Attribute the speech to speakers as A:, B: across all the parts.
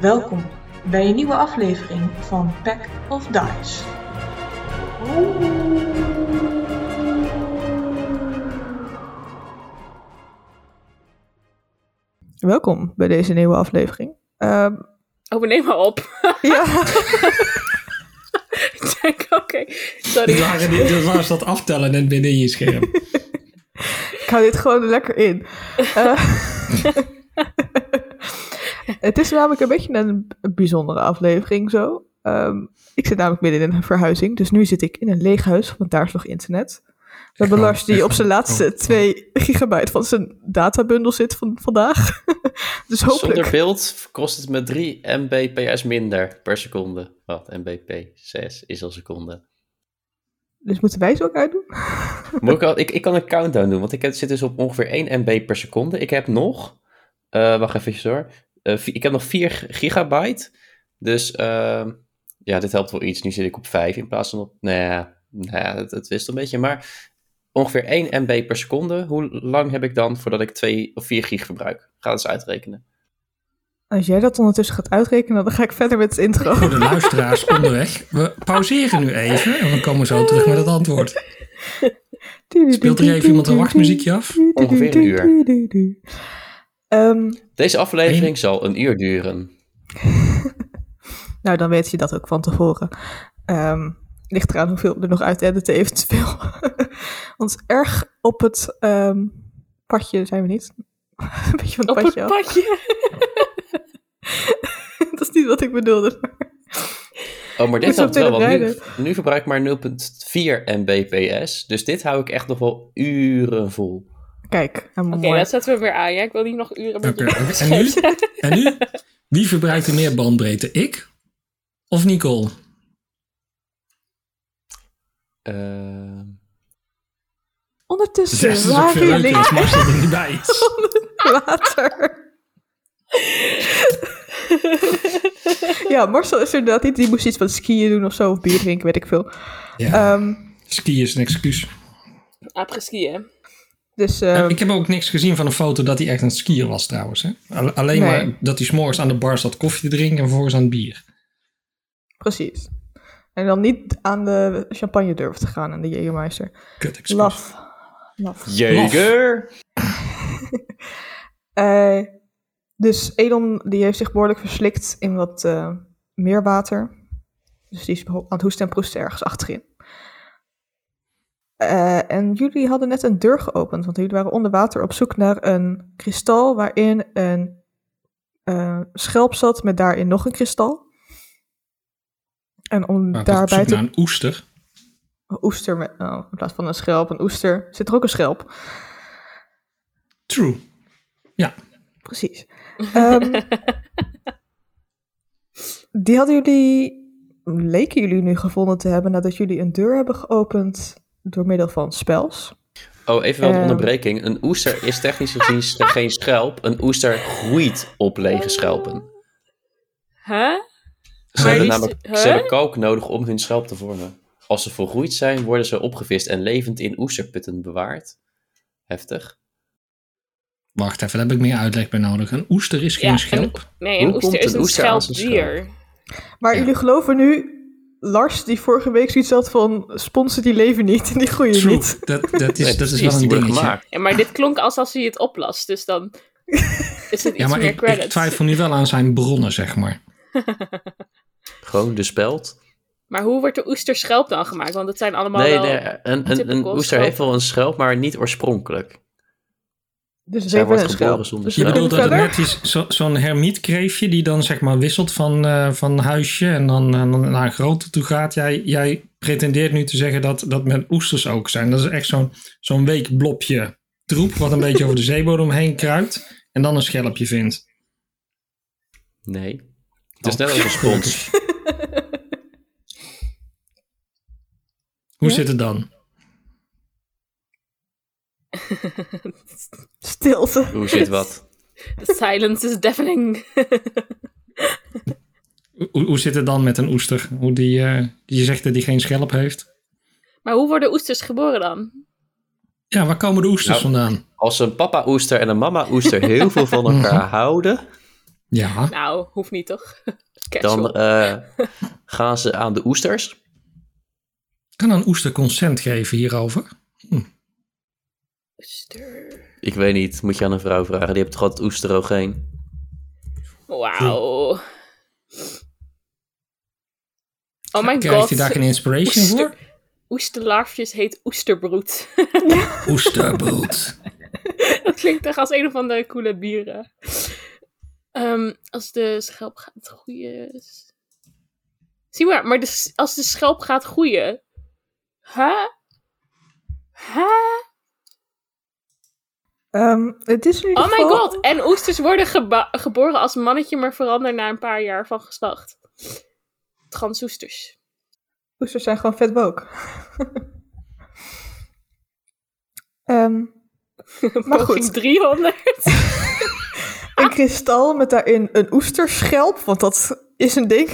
A: Welkom bij een nieuwe aflevering van Pack of Dice. Welkom bij deze nieuwe aflevering. Ehm,
B: Oh, we nemen op.
A: ja,
B: ik denk, oké,
C: Dit
B: sorry.
C: waren, die- dit was dat aftellen net binnen je scherm.
A: ik hou dit gewoon lekker in. Eh, het is namelijk een beetje een bijzondere aflevering zo. Ehm, ik zit namelijk midden in een verhuizing, dus nu zit ik in een leeg huis, want daar is nog internet. Dat
C: waar,
A: belast die
C: echt
A: op zijn
C: Oh,
A: laatste
C: oh.
A: 2 gigabyte van zijn databundel zit van vandaag. dus hopelijk.
D: Zonder beeld kost het me 3 mbps minder per seconde. Wat, mbp 6 is al seconde.
A: Dus moeten wij ze ook uitdoen?
D: Moet ik, al, ik, ik kan een countdown doen, want ik heb- zit dus op ongeveer 1 mb per seconde. Ik heb nog, eh, wacht even hoor, Eh, vi- ik heb nog 4 gigabyte. Dus eh, ja, dit helpt wel iets. Nu zit ik op 5 in plaats van op, nou ja, nou ja dat, dat wist een beetje. Maar ongeveer 1 mb per seconde. Hoe lang heb ik dan voordat ik 2 of 4 gig verbruik? Ga dat eens uitrekenen.
A: Als jij dat ondertussen gaat uitrekenen, dan ga ik verder met het intro.
C: Voor de luisteraars onderweg. We pauzeren nu even en we komen zo terug met het antwoord. Speelt er even iemand een wachtmuziekje af?
D: Ongeveer een
A: uur. Ehm,
D: Deze aflevering zal een uur duren.
A: nou, dan weet je dat ook van tevoren. Ehm, ligt eraan hoeveel er nog uit editen eventueel. Want erg op het ehm, padje zijn we niet. een beetje van het
B: Op
A: padje Oh,
B: het
A: af.
B: padje.
A: dat is niet wat ik bedoelde.
D: Oh, maar
A: Moet
D: dit
A: ze
D: helpt
A: op
D: wel, want nu,
A: telerijden.
D: nu verbruik ik maar 0,4 mbps. Dus dit hou ik echt nog wel uren vol.
A: Kijk, helemaal
B: Oké,
A: mooi.
B: dat zetten we weer aan. Ja, ik wil niet nog uren met
C: Oké,
B: je
C: en nu? En nu? Wie verbruikt er meer bandbreedte? Ik of Nicole?
D: Eh,
A: Ondertussen
C: Zes is ook
A: waren
C: veel leuker als
A: jullie
C: Marcel er niet bij is.
A: later. ja, Marcel is inderdaad niet. Die moest iets van skiën doen of zo, of bier drinken, weet ik veel.
C: Ja,
A: Ehm,
C: ski is een excuus.
B: Apres-ski, hè?
A: dus
C: Eh,
A: ehm,
C: Ik heb ook niks gezien van een foto dat hij echt aan het skiën was trouwens. Hè? Al- Alleen
A: Nee.
C: maar dat hij s'morgens aan de bar zat koffie te drinken en vervolgens aan het bier.
A: precies. En dan niet aan de champagne durven te gaan aan de Jägermeister.
C: Kut, excuus.
A: Laf. Laf.
D: Jager!
A: Eh, dus Elon die heeft zich behoorlijk verslikt in wat eh, meer water. Dus die is beho- aan het hoesten en proesten ergens achterin. Eh, en jullie hadden net een deur geopend, want jullie waren onder water op zoek naar een kristal waarin een eh, schelp zat met daarin nog een kristal. En om
C: Maar ik was op
A: daarbij
C: zoek
A: te
C: naar een oester.
A: een oester met, oh, in plaats van een schelp, een oester, zit er ook een schelp.
C: True.
A: Precies. Ehm, die hadden jullie, leken jullie nu gevonden te hebben nadat jullie een deur hebben geopend door middel van spels.
D: Oh, even wel een
A: Ehm.
D: onderbreking. Een oester is technisch gezien s- geen schelp. Een oester groeit op lege schelpen.
B: Huh? Maar
D: Ze hebben
B: die-
D: namelijk
B: huh?
D: ze hebben kalk nodig om hun schelp te vormen. Als ze volgroeid zijn, worden ze opgevist en levend in oesterputten bewaard. Heftig.
C: Wacht even, daar heb ik meer uitleg bij nodig. Een oester is geen
B: Ja,
C: schelp.
B: Nee,
D: Hoe
B: een oester
D: komt
B: is
D: een
B: een
D: oester aan zijn
B: schelpdier.
A: Maar
C: Ja.
A: jullie geloven nu Lars, die vorige week zoiets had van sponsen die leven niet en die groeien
C: True.
A: niet.
C: Dat, dat, is,
D: Nee,
C: dat is
D: precies,
C: wel een
D: die worden
C: dingetje.
D: gemaakt.
B: Ja, maar dit klonk als als hij het oplast, dus dan is het iets
C: Ja, maar
B: meer
C: ik, ik
B: credits.
C: twijfel nu wel aan zijn bronnen, zeg maar.
D: Gewoon de speld.
B: Maar hoe wordt de oester schelp dan gemaakt? Want het zijn allemaal
D: Nee,
B: wel...
D: nee, een, een, een
B: typical
D: oester
B: schelpen.
D: heeft wel een schelp, maar niet oorspronkelijk.
A: Dus het
D: Zij
A: heeft wel
D: wordt
A: een schelp.
D: geboren zonder
A: Dus
C: Je
A: we
D: Ja.
C: bedoelt
A: kunnen
C: dat het
A: verder.
C: net is zo- zo'n hermietkreefje die dan zeg maar wisselt van, eh, van huisje en dan, en dan naar een grote toe gaat. Jij, jij pretendeert nu te zeggen dat, dat met oesters ook zijn. Dat is echt zo'n zo'n week blopje troep wat een beetje over de zeebodem heen kruipt en dan een schelpje vindt.
D: Nee. Het is
C: Oh,
D: net als een spons.
C: gelukkig. Hoe
A: Ja?
C: zit het dan?
A: Stilte.
D: Hoe zit wat?
B: The silence is deafening.
C: Hoe, hoe zit het dan met een oester? Hoe die, eh, je zegt dat die geen schelp heeft.
B: maar hoe worden oesters geboren dan?
C: Ja, waar komen de oesters
D: Nou.
C: vandaan?
D: Mhm. Als een papa-oester en een mama-oester heel veel van elkaar houden,
C: Ja.
B: Nou, hoeft niet toch? Casual.
D: Dan eh, gaan ze aan de oesters.
C: Kan een oester consent geven hierover?
B: Oester.
D: Ik weet niet, moet je aan een vrouw vragen. Die hebt toch altijd oesterogeen?
B: Wauw. Oh mijn
C: Krijgt
B: god.
C: hij daar geen inspiration
B: Oester.
C: voor?
B: Oesterlaarfjes heet oesterbroed.
C: Oesterbrood.
B: dat klinkt echt als een of andere coole bieren. Ehm, als de schelp gaat groeien. is- Zie maar, maar de s- als de schelp gaat groeien. Huh? Huh?
A: Ehm, het is in ieder
B: Oh my
A: geval...
B: god! En oesters worden geba- geboren als mannetje, maar veranderen na een paar jaar van geslacht. Transoesters.
A: Oesters zijn gewoon vetbook. Ehm maar
B: Poging
A: goed,
B: 300.
A: een kristal met daarin een oesterschelp, want dat is een ding,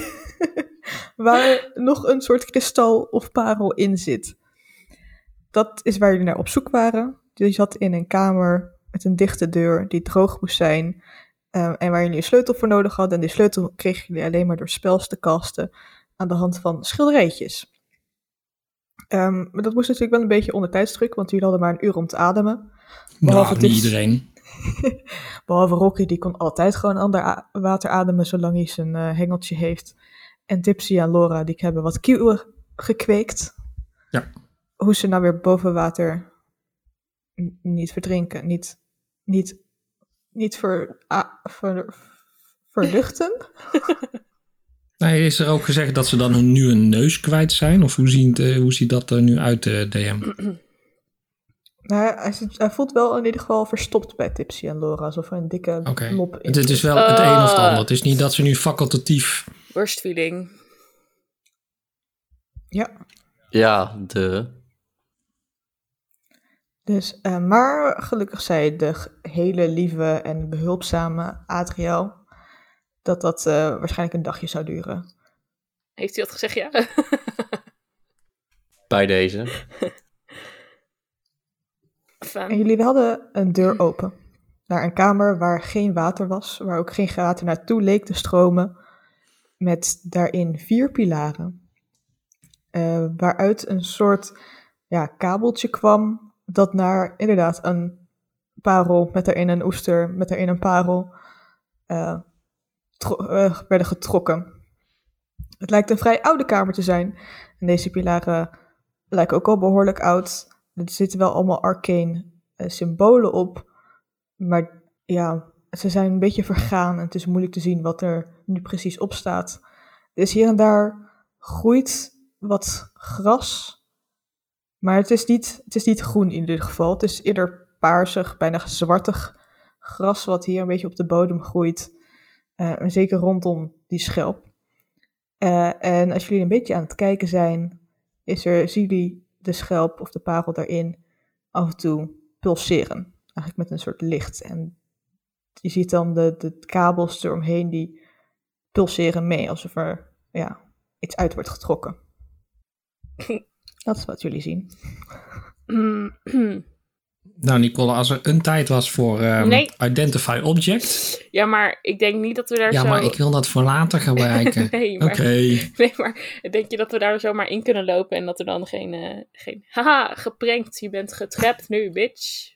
A: waar nog een soort kristal of parel in zit. Dat is waar jullie naar op zoek waren. Jullie zat in een kamer met een dichte deur die droog moest zijn ehm, en waar jullie een sleutel voor nodig hadden. En die sleutel kregen jullie alleen maar door spels te kasten aan de hand van schilderijtjes. Ehm, maar dat moest natuurlijk wel een beetje onder tijdsdruk, want jullie hadden maar een uur om te ademen. Behalve
C: Nou, niet
A: dit-
C: iedereen.
A: Behalve Rocky, die kon altijd gewoon ander a- water ademen zolang hij zijn eh, hengeltje heeft. En Tipsy en Laura, die hebben wat kieuwen gekweekt.
C: Ja.
A: Hoe ze nou weer boven water n- niet verdrinken, niet, niet, niet ver, a- ver- verluchten.
C: Nee, is er ook gezegd dat ze dan hun- nu een neus kwijt zijn? Of hoe ziet, eh, hoe ziet dat er nu uit, eh, DM?
A: nou, ja, hij, zit- hij voelt wel in ieder geval verstopt bij Tipsy en Laura, alsof er een dikke
C: Oké.
A: lop in
C: Het, het is
A: zit.
C: wel het een of het
B: Eh.
C: ander. Het is niet dat ze nu facultatief...
B: Worst feeling.
A: Ja.
D: Ja, de.
A: Dus, eh, maar gelukkig zei de g- hele lieve en behulpzame Adriel dat dat eh, waarschijnlijk een dagje zou duren.
B: Heeft u dat gezegd, ja?
D: Bij deze.
A: En
B: Fijn.
A: jullie hadden een deur open naar een kamer waar geen water was, waar ook geen water naartoe leek te stromen, met daarin vier pilaren, eh, waaruit een soort ja, kabeltje kwam dat naar inderdaad een parel met daarin een oester, met daarin een parel, eh, tro- eh, werden getrokken. Het lijkt een vrij oude kamer te zijn. En deze pilaren lijken ook al behoorlijk oud. Er zitten wel allemaal arcane eh, symbolen op. Maar ja, ze zijn een beetje vergaan. En het is moeilijk te zien wat er nu precies op staat. Dus hier en daar groeit wat gras. Maar het is niet, het is niet groen in ieder geval. Het is eerder paarsig, bijna zwartig gras wat hier een beetje op de bodem groeit. Eh, en zeker rondom die schelp. Eh, en als jullie een beetje aan het kijken zijn, is er, zien jullie de schelp of de parel daarin af en toe pulseren. Eigenlijk met een soort licht. En je ziet dan de, de kabels eromheen die pulseren mee, alsof er ja, iets uit wordt getrokken. Dat is wat jullie zien.
B: hmm.
C: Nou, Nicole, als er een tijd was voor ehm,
B: Nee.
C: Identify Object...
B: ja, maar ik denk niet dat we daar
C: Ja,
B: zo...
C: maar ik wil dat voor later gebruiken.
B: nee,
C: Oké.
B: maar... Nee, maar denk je dat we daar zomaar in kunnen lopen en dat er dan geen... eh, geen haha, geprankt, je bent getrapt nu, bitch.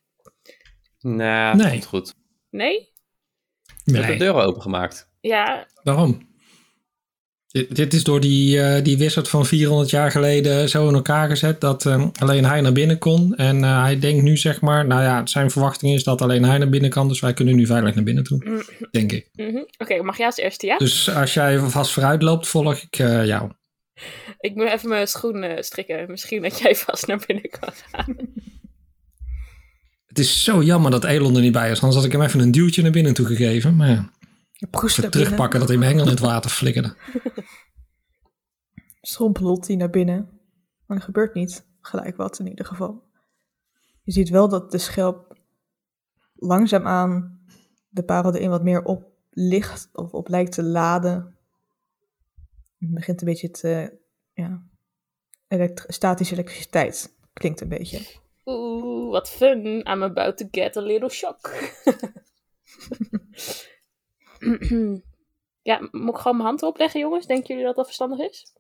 D: Nou,
C: Nee.
D: komt goed.
B: Nee?
D: Je hebt de
C: Nee,
D: deuren opengemaakt.
B: Ja,
C: waarom? Dit, dit is door die, eh, die wizard van 400 jaar geleden zo in elkaar gezet dat ehm, alleen hij naar binnen kon. En eh, hij denkt nu zeg maar, nou ja, zijn verwachting is dat alleen hij naar binnen kan, dus wij kunnen nu veilig naar binnen
B: Mm.
C: toe, denk ik.
B: mhm. oké, mag jij als eerste, ja?
C: Dus als jij vast vooruit loopt, volg ik eh, jou.
B: Ik moet even mijn schoen eh, strikken. Misschien dat jij vast naar binnen kan gaan.
C: Het is zo jammer dat Elon er niet bij is, anders had ik hem even een duwtje naar binnen toe gegeven. Maar ja,
A: Je proest
C: ze
A: naar binnen.
C: terugpakken dat hij mijn hengel in het water flikkerde.
A: Strompelt hij naar binnen. Maar er gebeurt niet. Gelijk wat in ieder geval. Je ziet wel dat de schelp langzaamaan de parel erin wat meer op ligt of op lijkt te laden. Het begint een beetje te, ja, elekt- statische elektriciteit klinkt een beetje.
B: Oeh, wat fun. I'm about to get a little shock. ja, moet ik gewoon mijn hand opleggen, jongens? Denken jullie dat dat verstandig is?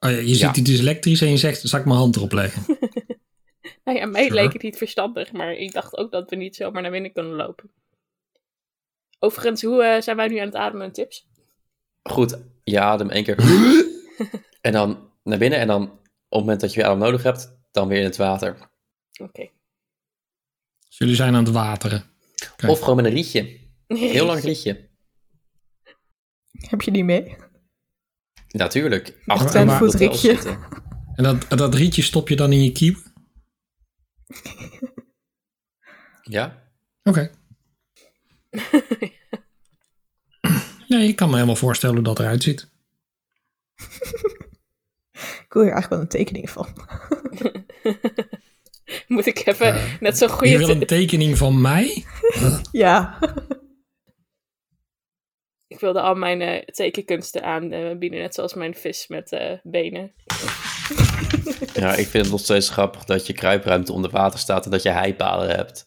C: Oh ja, je ziet
D: Ja.
C: die dyslectrisch en je zegt, zal ik mijn hand erop leggen?
B: Nou ja, mij
C: Sure.
B: leek het niet verstandig, maar ik dacht ook dat we niet zomaar naar binnen kunnen lopen. Overigens, hoe eh, zijn wij nu aan het ademen en tips?
D: Goed, je adem één keer. en dan naar binnen. En dan op het moment dat je weer adem nodig hebt, dan weer in het water.
B: Oké.
C: Dus jullie zijn aan het wateren. Oké.
D: Of gewoon met een rietje. Heel lang rietje.
A: Heb je die mee?
D: Natuurlijk.
C: een
D: in de
A: goed
D: hotels
A: rietje.
D: zitten.
C: En dat, dat rietje stop je dan in je kiep? Oké.
D: Ja?
C: nee, ik kan me helemaal voorstellen hoe dat eruit ziet.
A: Ik wil hier eigenlijk wel een tekening van.
B: Moet ik even net zo'n
C: Je wil
B: goede...
C: een tekening van mij?
A: Ja.
B: Ik wilde al mijn eh, tekenkunsten aanbieden, net zoals mijn vis met eh, benen.
D: ja, ik vind het nog steeds grappig dat je kruipruimte onder water staat en dat je heipalen hebt.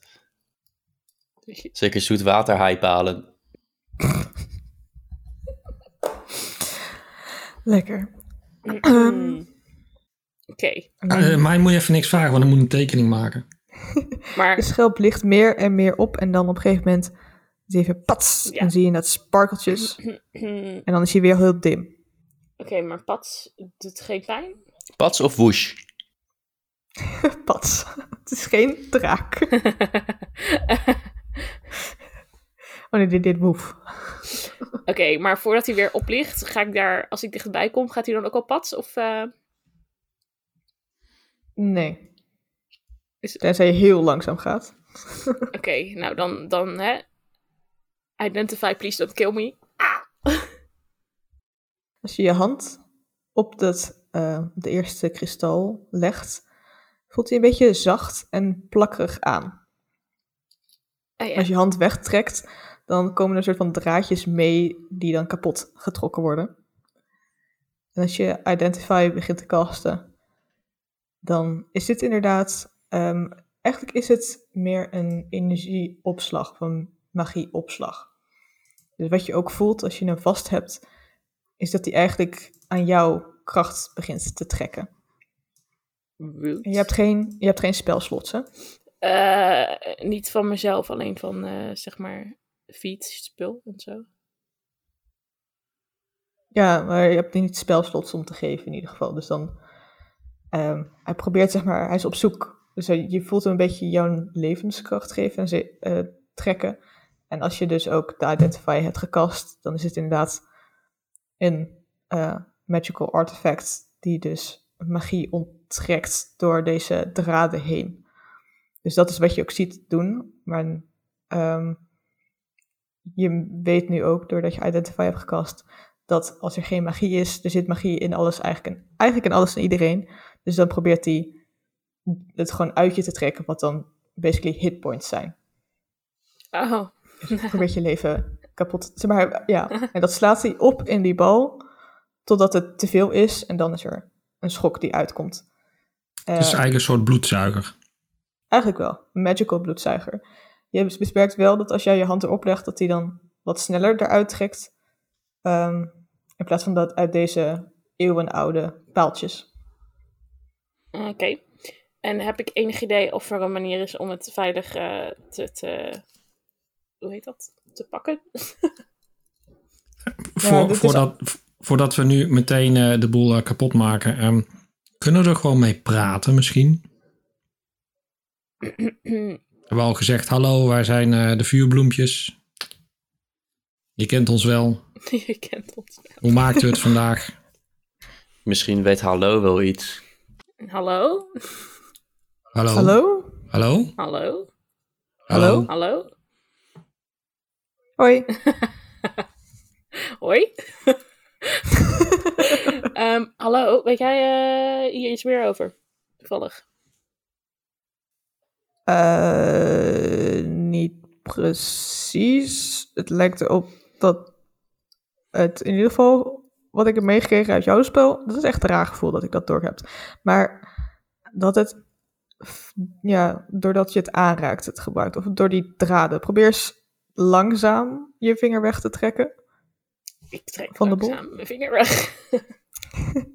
D: Zeker zoetwater heipalen.
A: Lekker.
B: Hmm. Oké,
C: Eh, mij moet je even niks vragen, want dan moet ik een tekening maken.
A: De
B: maar
A: schelp ligt meer en meer op en dan op een gegeven moment is hij even pats.
B: Ja.
A: En zie je dat sparkeltjes.
B: Oké,
A: En dan is hij weer heel dim.
B: hmm, maar Pats doet geen pijn?
D: Pats of woesh?
A: Pats. Het is geen draak. Oh nee, dit, dit woef.
B: Oké, maar voordat hij weer oplicht, ga ik daar, als ik dichtbij kom, gaat hij dan ook al Pats? Of, eh,
A: Nee.
B: Is-
A: Tenzij je heel langzaam gaat.
B: Oké, nou dan, dan hè. Identify, please don't kill me.
A: Als je je hand op dat, eh, de eerste kristal legt, voelt hij een beetje zacht en plakkerig aan.
B: Ah, ja.
A: Als je hand wegtrekt, dan komen er een soort van draadjes mee die dan kapot getrokken worden. En als je Identify begint te casten, dan is dit inderdaad... ehm, eigenlijk is het meer een energieopslag, of een magieopslag. Dus wat je ook voelt als je hem vast hebt, is dat hij eigenlijk aan jouw kracht begint te trekken.
B: Wild.
A: En je hebt geen, je hebt geen spelslots, hè?
B: Eh, niet van mezelf, alleen van eh, zeg maar feed, spul en zo.
A: Ja, maar je hebt niet spelslots om te geven in ieder geval. Dus dan, ehm, hij probeert zeg maar, hij is op zoek. Dus hij- je voelt hem een beetje jouw levenskracht geven en ze, eh, trekken. En als je dus ook de Identify hebt gekast, dan is het inderdaad een eh, magical artifact die dus magie onttrekt door deze draden heen. Dus dat is wat je ook ziet doen. Maar ehm, je weet nu ook, doordat je Identify hebt gekast, dat als er geen magie is, er zit magie in alles eigenlijk, en eigenlijk in alles en iedereen. Dus dan probeert hij het gewoon uit je te trekken, wat dan basically hitpoints zijn.
B: Oh,
A: Probeert je leven kapot te maar, ja. En dat slaat hij op in die bal, totdat het te veel is en dan is er een schok die uitkomt. Eh,
C: Het is eigenlijk een soort bloedzuiger.
A: Eigenlijk wel. Een magical bloedzuiger. Je besperkt wel dat als jij je hand erop legt, dat die dan wat sneller eruit trekt. ehm, in plaats van dat uit deze eeuwenoude paaltjes.
B: oké. En heb ik enig idee of er een manier is om het veilig eh, te, te. Hoe heet dat? Te pakken?
A: dit
C: Voor,
A: is-
C: voordat, voordat we nu meteen eh, de boel eh, kapot maken. ehm, kunnen we er gewoon mee praten misschien? We hebben al gezegd, hallo, waar zijn eh, de vuurbloempjes? Je kent ons wel.
B: Je kent ons.
C: Hoe maakt u het vandaag?
D: Misschien weet hallo wel iets.
B: Hallo?
C: Hallo?
A: Hallo?
C: Hallo?
B: Hallo?
C: Hallo?
B: Hallo?
A: Hoi.
B: Hoi. Ehm, hallo, weet jij eh, hier iets meer over? Toevallig.
A: Eh, niet precies. Het lijkt erop dat het in ieder geval wat ik heb meegekregen uit jouw spel, dat is echt een raar gevoel dat ik dat door heb. Maar dat het, f- ja, doordat je het aanraakt, het gebruikt, of door die draden. Probeer eens langzaam je vinger weg te trekken.
B: Ik trek
A: Van de bol?
B: langzaam mijn vinger weg.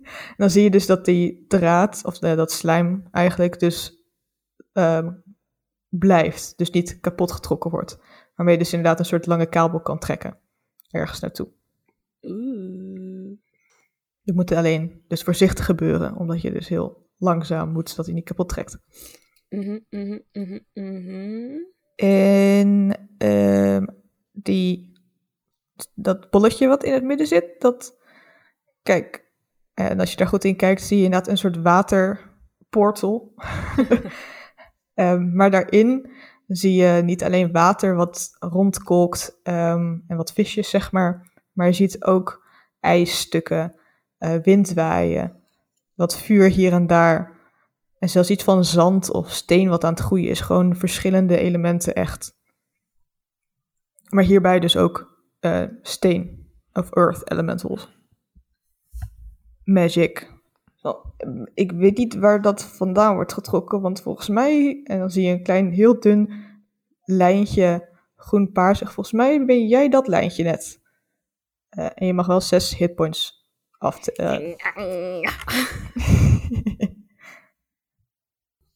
A: En dan zie je dus dat die draad, of eh, dat slijm eigenlijk dus ehm, blijft. Dus niet kapot getrokken wordt. Waarmee je dus inderdaad een soort lange kabel kan trekken. Ergens naartoe.
B: Oeh.
A: Je moet alleen dus voorzichtig gebeuren. Omdat je dus heel langzaam moet, zodat hij niet kapot trekt.
B: Mhm, mhm, mhm, mhm.
A: En ehm, die, dat bolletje wat in het midden zit, dat. Kijk, eh, en als je daar goed in kijkt, zie je inderdaad een soort waterportal. Ehm, maar daarin zie je niet alleen water wat rondkolkt ehm, en wat visjes, zeg maar. Maar je ziet ook ijsstukken, eh windwaaien, wat vuur hier en daar. En zelfs iets van zand of steen wat aan het groeien is. Gewoon verschillende elementen echt. Maar hierbij dus ook eh, steen of earth elementals. Magic. Wel, ehm, Ik weet niet waar dat vandaan wordt getrokken, want volgens mij, en dan zie je een klein, heel dun lijntje groen-paarsig. Volgens mij ben jij dat lijntje net. Eh, en je mag wel zes hitpoints af. te- eh,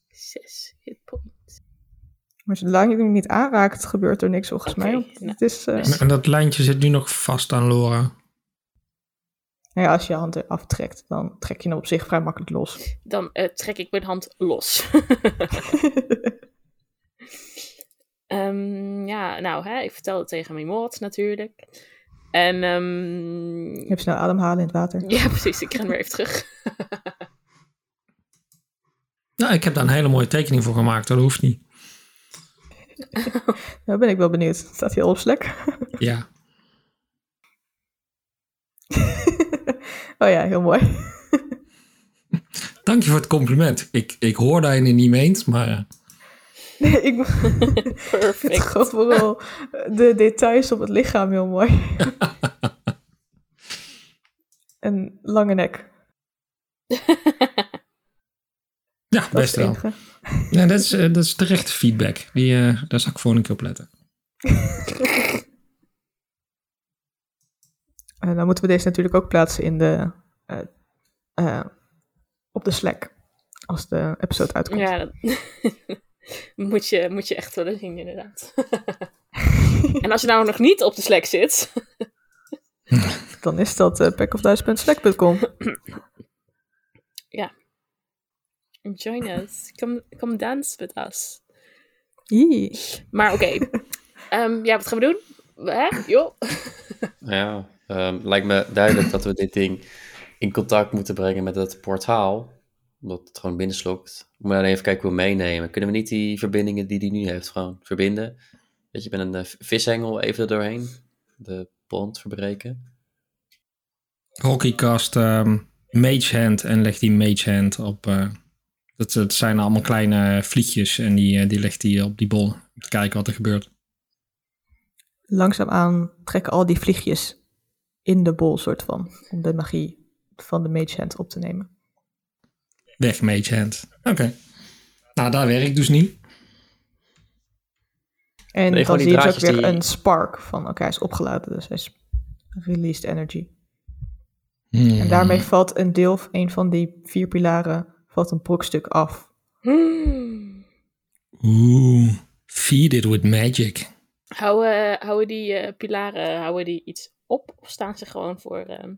B: Zes hitpoints.
A: Maar zolang je hem niet aanraakt, gebeurt er niks volgens
B: Oké,
A: mij.
B: nou,
A: Want Het is, eh,
B: dus-
C: En, en dat lijntje zit nu nog vast aan Laura.
A: nou ja, als je je hand eraf trekt, dan trek je hem op zich vrij makkelijk los.
B: Dan eh, trek ik mijn hand los. Ehm, ja, nou, hè, ik vertel het tegen mijn moord natuurlijk. En ehm,
A: Je hebt snel ademhalen in het water.
B: ja, precies, ik ren weer even terug.
C: Nou, ik heb daar een hele mooie tekening voor gemaakt. Dat hoeft niet.
A: Nou ben ik wel benieuwd. Staat hij al op Slack?
C: Ja.
A: oh ja, heel mooi.
C: Dank je voor het compliment. Ik, ik hoor dat je het niet meent, maar... eh,
A: Nee, ik vind
B: Perfect.
A: gewoon vooral eh, de details op het lichaam heel mooi. Een lange nek.
C: ja,
A: Dat
C: best
A: is het
C: wel.
A: enige.
C: Ja, dat, is, eh, dat is terecht feedback. Die, eh, daar zal ik volgende keer op letten.
A: En Eh, dan moeten we deze natuurlijk ook plaatsen in de, eh, eh, op de Slack. Als de episode uitkomt.
B: Ja, dat moet, je, moet je echt wel eens zien, inderdaad. en als je nou nog niet op de Slack zit,
A: Dan is dat uh, packofdice.slack.com.
B: join us. Come, come dance with us.
A: Jee.
B: Maar oké, Ehm, ja, wat gaan we doen? Hè? Joh.
D: Ja, ehm, lijkt me duidelijk dat we dit ding in contact moeten brengen met dat portaal. Omdat het gewoon binnenslokt. Moet alleen even kijken hoe we meenemen. Kunnen we niet die verbindingen die die nu heeft gewoon verbinden? Weet je, met een eh, v- vishengel even er doorheen. De bond verbreken.
C: Hockeycast ehm Mage Hand en legt die Mage Hand op. eh, dat, dat zijn allemaal kleine vliegjes en die, eh, die legt hij op die bol. Om te kijken wat er gebeurt.
A: langzaamaan trekken al die vliegjes in de bol, soort van. Om de magie van de Mage Hand op te nemen.
C: Weg Mage Hand. Oké. Nou, daar werkt dus niet.
A: En
D: Nee, gewoon die
A: dan zie je dus ook
D: draadjes
A: weer
D: die-
A: een spark van, oké, hij is opgeladen, dus hij is released energy.
C: Hmm.
A: En daarmee valt een deel, een van die vier pilaren, valt een brokstuk af.
B: Hmm.
C: Oeh. Feed it with magic.
B: Houden, houden die eh, pilaren houden die iets op of staan ze gewoon voor. ehm,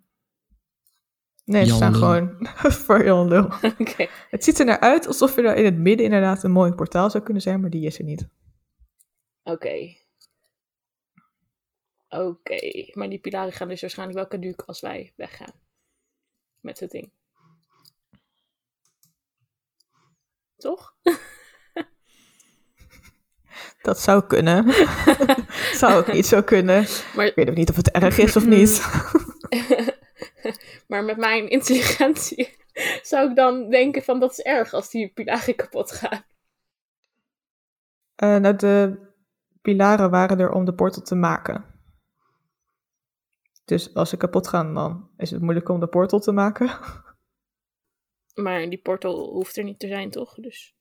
A: Nee, ze
C: Jan
A: staan
C: Lul.
A: gewoon voor Jan Lul.
B: Oké,
A: Het ziet er naar uit alsof er daar in het midden inderdaad een mooi portaal zou kunnen zijn, maar die is er niet.
B: oké. Oké, maar die pilaren gaan dus waarschijnlijk wel caduc als wij weggaan. Met het ding. Toch?
A: Dat zou kunnen. zou ook niet zo kunnen.
B: Maar, Mm.
A: Ik weet ook niet of het erg is of niet.
B: maar met mijn intelligentie zou ik dan denken van dat is erg als die pilaren kapot gaan.
A: Eh, nou, de pilaren waren er om de portal te maken. Dus als ze kapot gaan, dan is het moeilijk om de portal te maken.
B: Maar die portal hoeft er niet te zijn, toch? Dus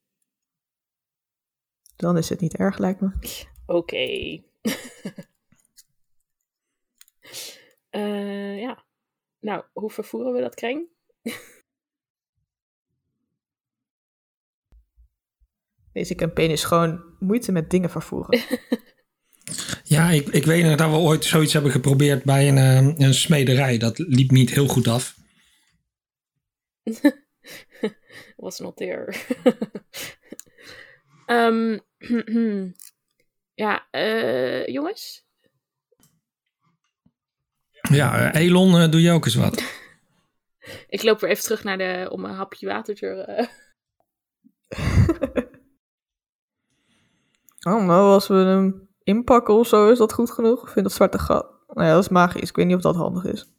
A: Dan is het niet erg, lijkt me.
B: oké. Eh, ja. Nou, hoe vervoeren we dat kreng?
A: Deze campagne is gewoon moeite met dingen vervoeren.
C: Ja, ik, ik weet nog dat we ooit zoiets hebben geprobeerd bij een, eh, een smederij. Dat liep niet heel goed af.
B: Was not there. Ehm, ja, eh, jongens.
C: Ja, eh, Elon, eh, doe je ook eens wat.
B: Ik loop weer even terug naar de, om een hapje water te... eh,
A: Oh, nou, als we hem inpakken of zo, is dat goed genoeg? Ik vind dat zwarte gat. Nou ja, dat is magisch. Ik weet niet of dat handig is.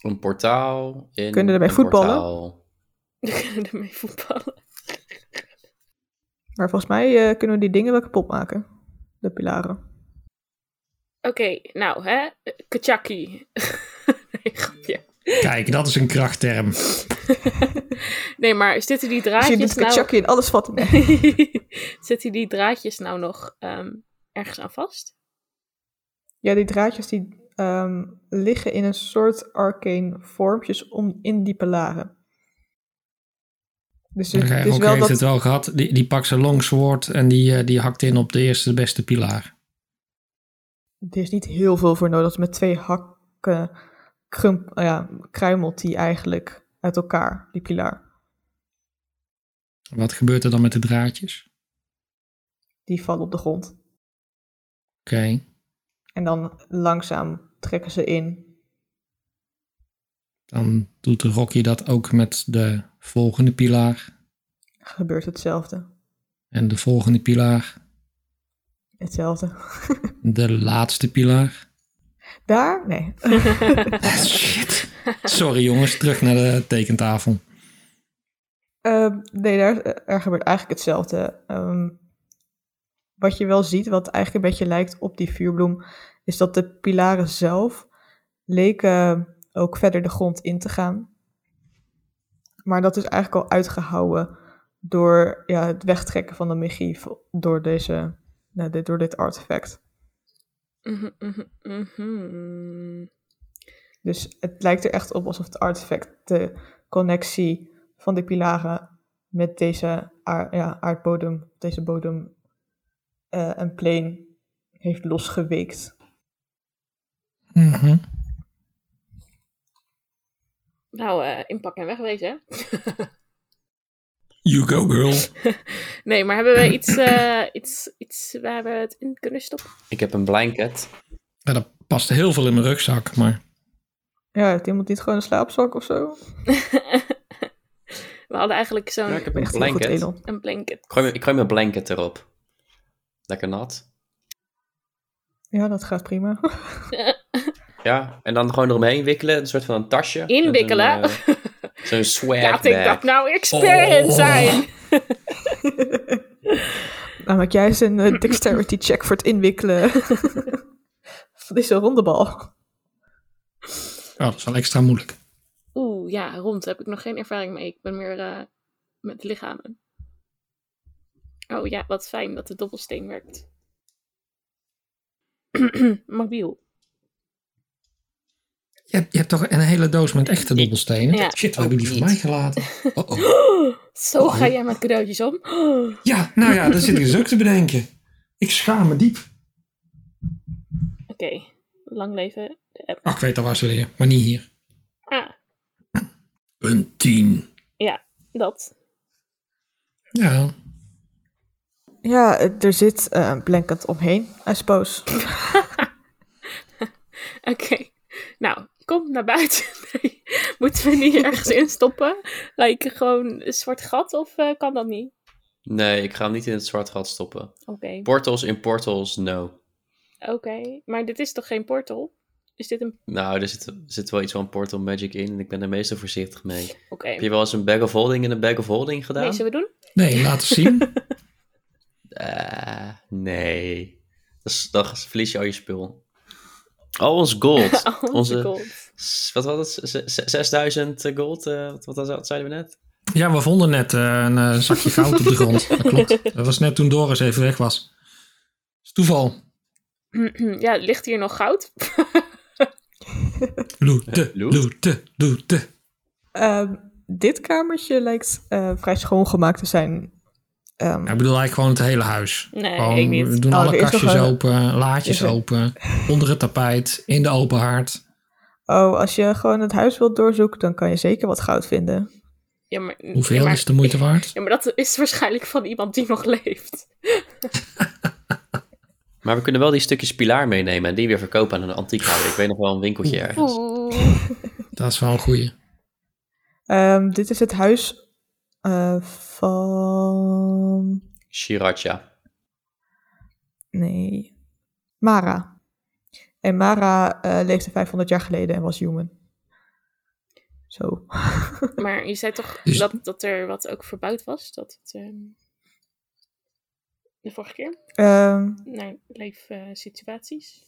D: Een portaal. In
A: Kun je ermee
D: een
A: voetballen?
D: portaal.
B: ermee voetballen.
A: Maar volgens mij eh, kunnen we die dingen wel kapot maken. De pilaren.
B: Oké, nou hè. Kachaki. nee, grapje.
C: Kijk, dat is een krachtterm.
B: Nee, maar zitten die
A: Dus je doet
B: draadjes nou...
A: kachakje in alles vatten. Nee.
B: zitten die draadjes nou nog ehm, ergens aan vast?
A: Ja, die draadjes die ehm, liggen in een soort arcane vormpjes om in die pilaren. Dus het
C: Oké,
A: is
C: Rocky
A: wel
C: heeft
A: dat...
C: het wel gehad. Die, die pakt zijn longsword en die, eh, die hakt in op de eerste beste pilaar.
A: Er is niet heel veel voor nodig. Met twee hakken krum, eh, ja, kruimelt die eigenlijk uit elkaar, die pilaar.
C: Wat gebeurt er dan met de draadjes?
A: Die vallen op de grond.
C: Oké.
A: En dan langzaam trekken ze in.
C: Dan doet Rocky dat ook met de volgende pilaar.
A: Gebeurt hetzelfde.
C: En de volgende pilaar.
A: Hetzelfde.
C: De laatste pilaar.
A: Daar? Nee.
B: Ah,
C: Shit. Sorry jongens, terug naar de tekentafel.
A: Ehm, nee, daar, er gebeurt eigenlijk hetzelfde. Ehm, wat je wel ziet, wat eigenlijk een beetje lijkt op die vuurbloem, is dat de pilaren zelf leken ook verder de grond in te gaan. Maar dat is eigenlijk al uitgehouden door ja, het wegtrekken van de magie vo- door, deze, nou, dit, door dit artefact.
B: Mhm, mhm, mhm.
A: Dus het lijkt er echt op alsof het artefact de connectie van de pilaren met deze aar- ja, aardbodem, deze bodem eh, en plane heeft losgeweekt.
C: Mhm.
B: Nou, eh, inpakken en wegwezen, hè?
C: You go girl.
B: Nee, maar hebben we iets, eh, iets, iets waar we het in kunnen stoppen?
D: Ik heb een blanket.
C: Ja, dat past heel veel in mijn rugzak, maar...
A: Ja, heeft iemand niet gewoon een slaapzak of zo?
B: we hadden eigenlijk
D: Ja,
B: zo'n
D: ik heb een
A: Echt heel goed,
D: blanket.
A: Elon.
B: een blanket.
D: Ik gooi, mijn- ik gooi mijn blanket erop. Lekker nat.
A: Ja, dat gaat prima.
D: Ja, en dan gewoon eromheen wikkelen. Een soort van een tasje. met een,
B: Inwikkelen?
D: eh, Zo'n swag
B: Laat ik
D: bag.
B: dat nou experience
C: Oh.
B: zijn!
A: Dan maak jij eens een eh, dexterity check voor het inwikkelen van deze ronde bal.
C: Oh, dat is wel extra moeilijk.
B: Oeh, ja, rond heb ik nog geen ervaring mee. Ik ben meer eh, met lichamen. Oh ja, wat fijn dat de dobbelsteen werkt. Mobiel.
C: Je hebt, je hebt toch een hele doos met echte dobbelstenen?
B: Ja.
C: Shit, waar heb ik die voor mij gelaten? Oh, oh.
B: Zo ga jij met cadeautjes om.
C: Ja, nou ja, dat zit ik dus ook te bedenken. Ik schaam me diep.
B: Oké, lang leven. de app.
C: Ach, Ah, ik weet dat was ze weer, maar niet hier.
B: Ah,
C: Een tien.
B: dat.
C: Ja,
A: Ja, eh, er zit eh, een blanket omheen, I suppose.
B: Oké. Nou, kom naar buiten. Nee. Moeten we niet ergens in stoppen? Like gewoon een zwart gat of eh, kan dat niet?
D: Nee, ik ga hem niet in het zwart gat stoppen.
B: Oké.
D: Portals in portals, no.
B: Oké. Maar dit is toch geen portal? Is dit een.
D: Nou, er zit, zit wel iets van portal magic in. En ik ben er meestal voorzichtig mee.
B: Oké.
D: Heb je wel eens een bag of holding in een bag of holding gedaan?
B: Nee, zullen we doen?
C: nee, laat eens zien.
D: Eh, nee. Dat is- Dan verlies je al je spul. Al ons gold.
B: Oh,
D: Onze-
B: god.
D: S- Wat was het? Z- z- 6000 gold? eh, wat, wat, wat zeiden we net?
C: Ja, we vonden net eh, een eh, zakje goud op de grond. Dat klopt. Dat was net toen Doris even weg was. Dat is toeval.
B: ja, ligt hier nog goud?
C: Looten,
D: Loot.
C: looten, looten.
A: Ehm, dit kamertje lijkt eh, vrij schoongemaakt te zijn. Ehm,
C: Ja, Nou, ik bedoel eigenlijk gewoon het hele huis.
B: Nee,
C: Gewoon,
B: ik niet.
C: We doen
A: Oh, er
C: alle
A: is nog
C: kastjes
A: een-
C: open, laadjes
A: is er-
C: open, onder het tapijt, in de open haard.
A: Oh, als je gewoon het huis wilt doorzoeken, dan kan je zeker wat goud vinden.
B: Ja, maar,
C: Hoeveel
B: ja, maar-
C: is de moeite waard?
B: Ja, maar dat is waarschijnlijk van iemand die nog leeft.
D: Maar we kunnen wel die stukjes pilaar meenemen en die weer verkopen aan een antiekhouden. Ik weet nog wel een winkeltje ergens.
B: Oeh.
C: Dat is wel een goeie.
A: Ehm, dit is het huis eh, van.
D: Sriracha.
A: Nee. Mara. En Mara eh, leefde 500 jaar geleden en was human. Zo.
B: Maar je zei toch
C: Is-
B: dat, dat er wat ook verbouwd was? Dat het, ehm, de vorige keer?
A: Ehm,
B: Naar leefsituaties?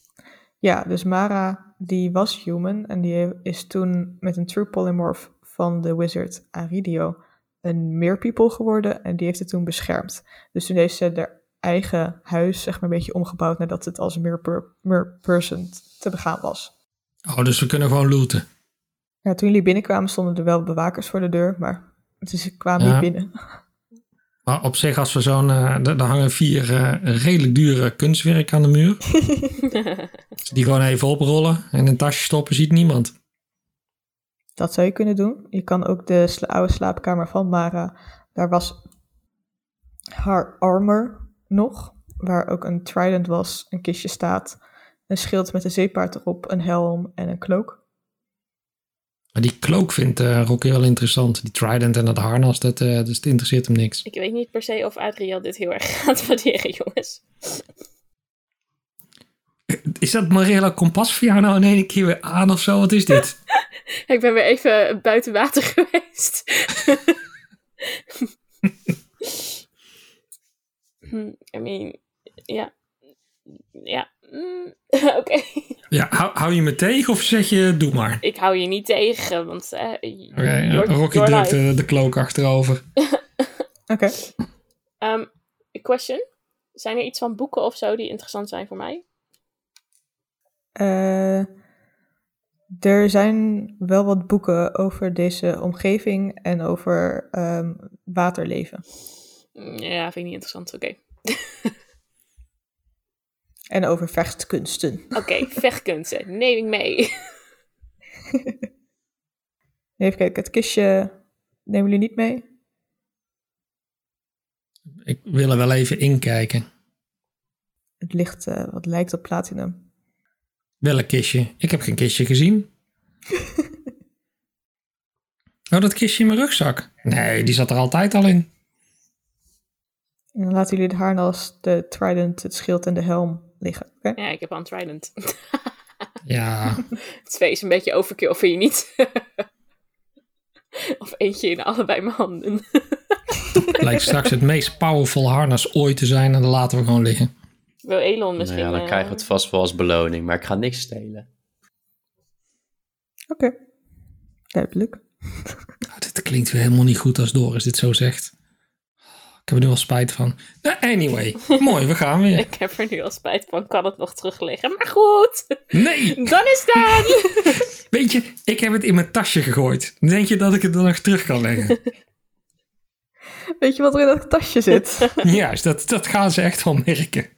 A: ja, dus Mara, die was human en die is toen met een true polymorph van de wizard Aridio een meerpeople geworden en die heeft het toen beschermd. Dus toen heeft ze haar eigen huis zeg maar een beetje omgebouwd nadat het als meer person te begaan was.
C: Oh, dus we kunnen gewoon looten.
A: Ja, toen jullie binnenkwamen stonden er wel bewakers voor de deur, maar ze kwamen
C: Ja.
A: niet binnen.
C: Maar op zich, als we zo'n... eh, d- daar hangen vier eh, redelijk dure kunstwerk aan de muur. Als we Die gewoon even oprollen en in een tasje stoppen, ziet niemand.
A: Dat zou je kunnen doen. Je kan ook de sla- oude slaapkamer van Mara, daar was haar armor nog, waar ook een trident was, een kistje staat, een schild met een zeepaard erop, een helm en een cloak.
C: Maar die cloak vindt eh Rocky wel interessant. Die trident en dat harnas, dat, eh, dus het interesseert hem niks.
B: Ik weet niet per se of Adriel dit heel erg gaat waarderen, jongens.
C: Is dat Marilla Kompas voor jou nou in één keer weer aan of zo? Wat is dit?
B: Ik ben weer even buiten water geweest. Hm, I mean, ja. Ja. mm, Oké.
C: Ja, hou, hou je me tegen of zeg je doe maar?
B: Ik hou je niet tegen, want... eh, y-
C: Oké,
B: your-
C: Rocky
B: your
C: drukt
B: life.
C: eh, de cloak achterover.
A: Oké,
B: Ehm, question. Zijn er iets van boeken of zo die interessant zijn voor mij?
A: eh, er zijn wel wat boeken over deze omgeving en over ehm, waterleven.
B: Mm, Ja, vind ik niet interessant. Oké.
A: En over vechtkunsten.
B: Oké, vechtkunsten. Neem ik mee.
A: Even kijken, het kistje nemen jullie niet mee?
C: Ik wil er wel even inkijken.
A: Het ligt eh, wat lijkt op platinum.
C: Welk kistje? Ik heb geen kistje gezien. oh, dat kistje in mijn rugzak. Nee, die zat er altijd al in.
A: En dan laten jullie het harnas, de trident, het schild en de helm liggen. Oké?
B: Ja, ik heb aan Trident.
C: Ja,
B: Twee is een beetje overkill, vind je niet? of eentje in allebei mijn handen.
C: lijkt straks het meest powerful harnas ooit te zijn en dan laten we gewoon liggen.
B: Wil Elon
D: Nou
B: misschien...
D: ja, dan
B: eh,
D: krijgen we het vast wel als beloning, maar ik ga niks stelen.
A: Oké. Duidelijk.
C: Nou, dit klinkt weer helemaal niet goed als Doris dit zo zegt. Ik heb er nu wel spijt van. Nou, anyway, mooi, we gaan weer.
B: Ik heb er nu al spijt van, kan het nog terugleggen. Maar goed,
C: Nee,
B: dan is dat!
C: weet je, ik heb het in mijn tasje gegooid. Denk je dat ik het dan nog terug kan leggen?
A: Weet je wat er in dat tasje zit?
C: Juist, dat, dat gaan ze echt wel merken.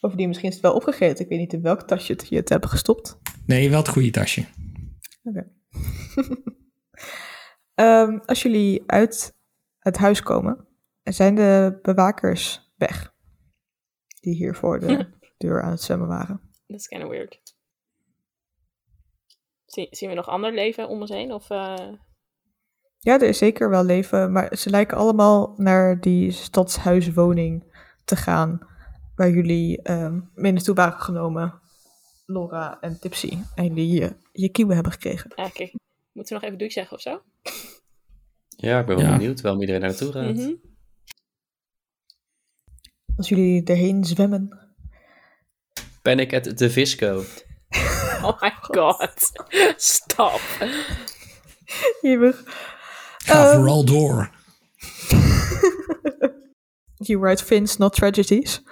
A: Bovendien, misschien is het wel opgegeten. Ik weet niet in welk tasje het- je het hebt gestopt.
C: Nee, wel het goede tasje.
A: Ehm, als jullie uit het huis komen, zijn de bewakers weg. Die hier voor de deur aan het zwemmen waren.
B: Dat is kind of weird. Zie- zien we nog ander leven om ons heen? Of, eh,
A: Ja, er is zeker wel leven, maar ze lijken allemaal naar die stadshuiswoning te gaan. Waar jullie ehm mee naartoe waren genomen, Laura en Tipsy. En jullie eh, je kieuwen hebben gekregen.
B: ah, kijk, moeten we nog even doei zeggen of zo?
D: Ja, ik ben wel
C: Ja.
D: benieuwd waarom iedereen naartoe gaat.
B: Mhm.
A: Als jullie erheen zwemmen.
D: Panic at the Visco.
B: Oh my god. Stop.
A: Eeuwig.
C: Ga
A: Ehm.
C: vooral door.
A: You write fins, not tragedies.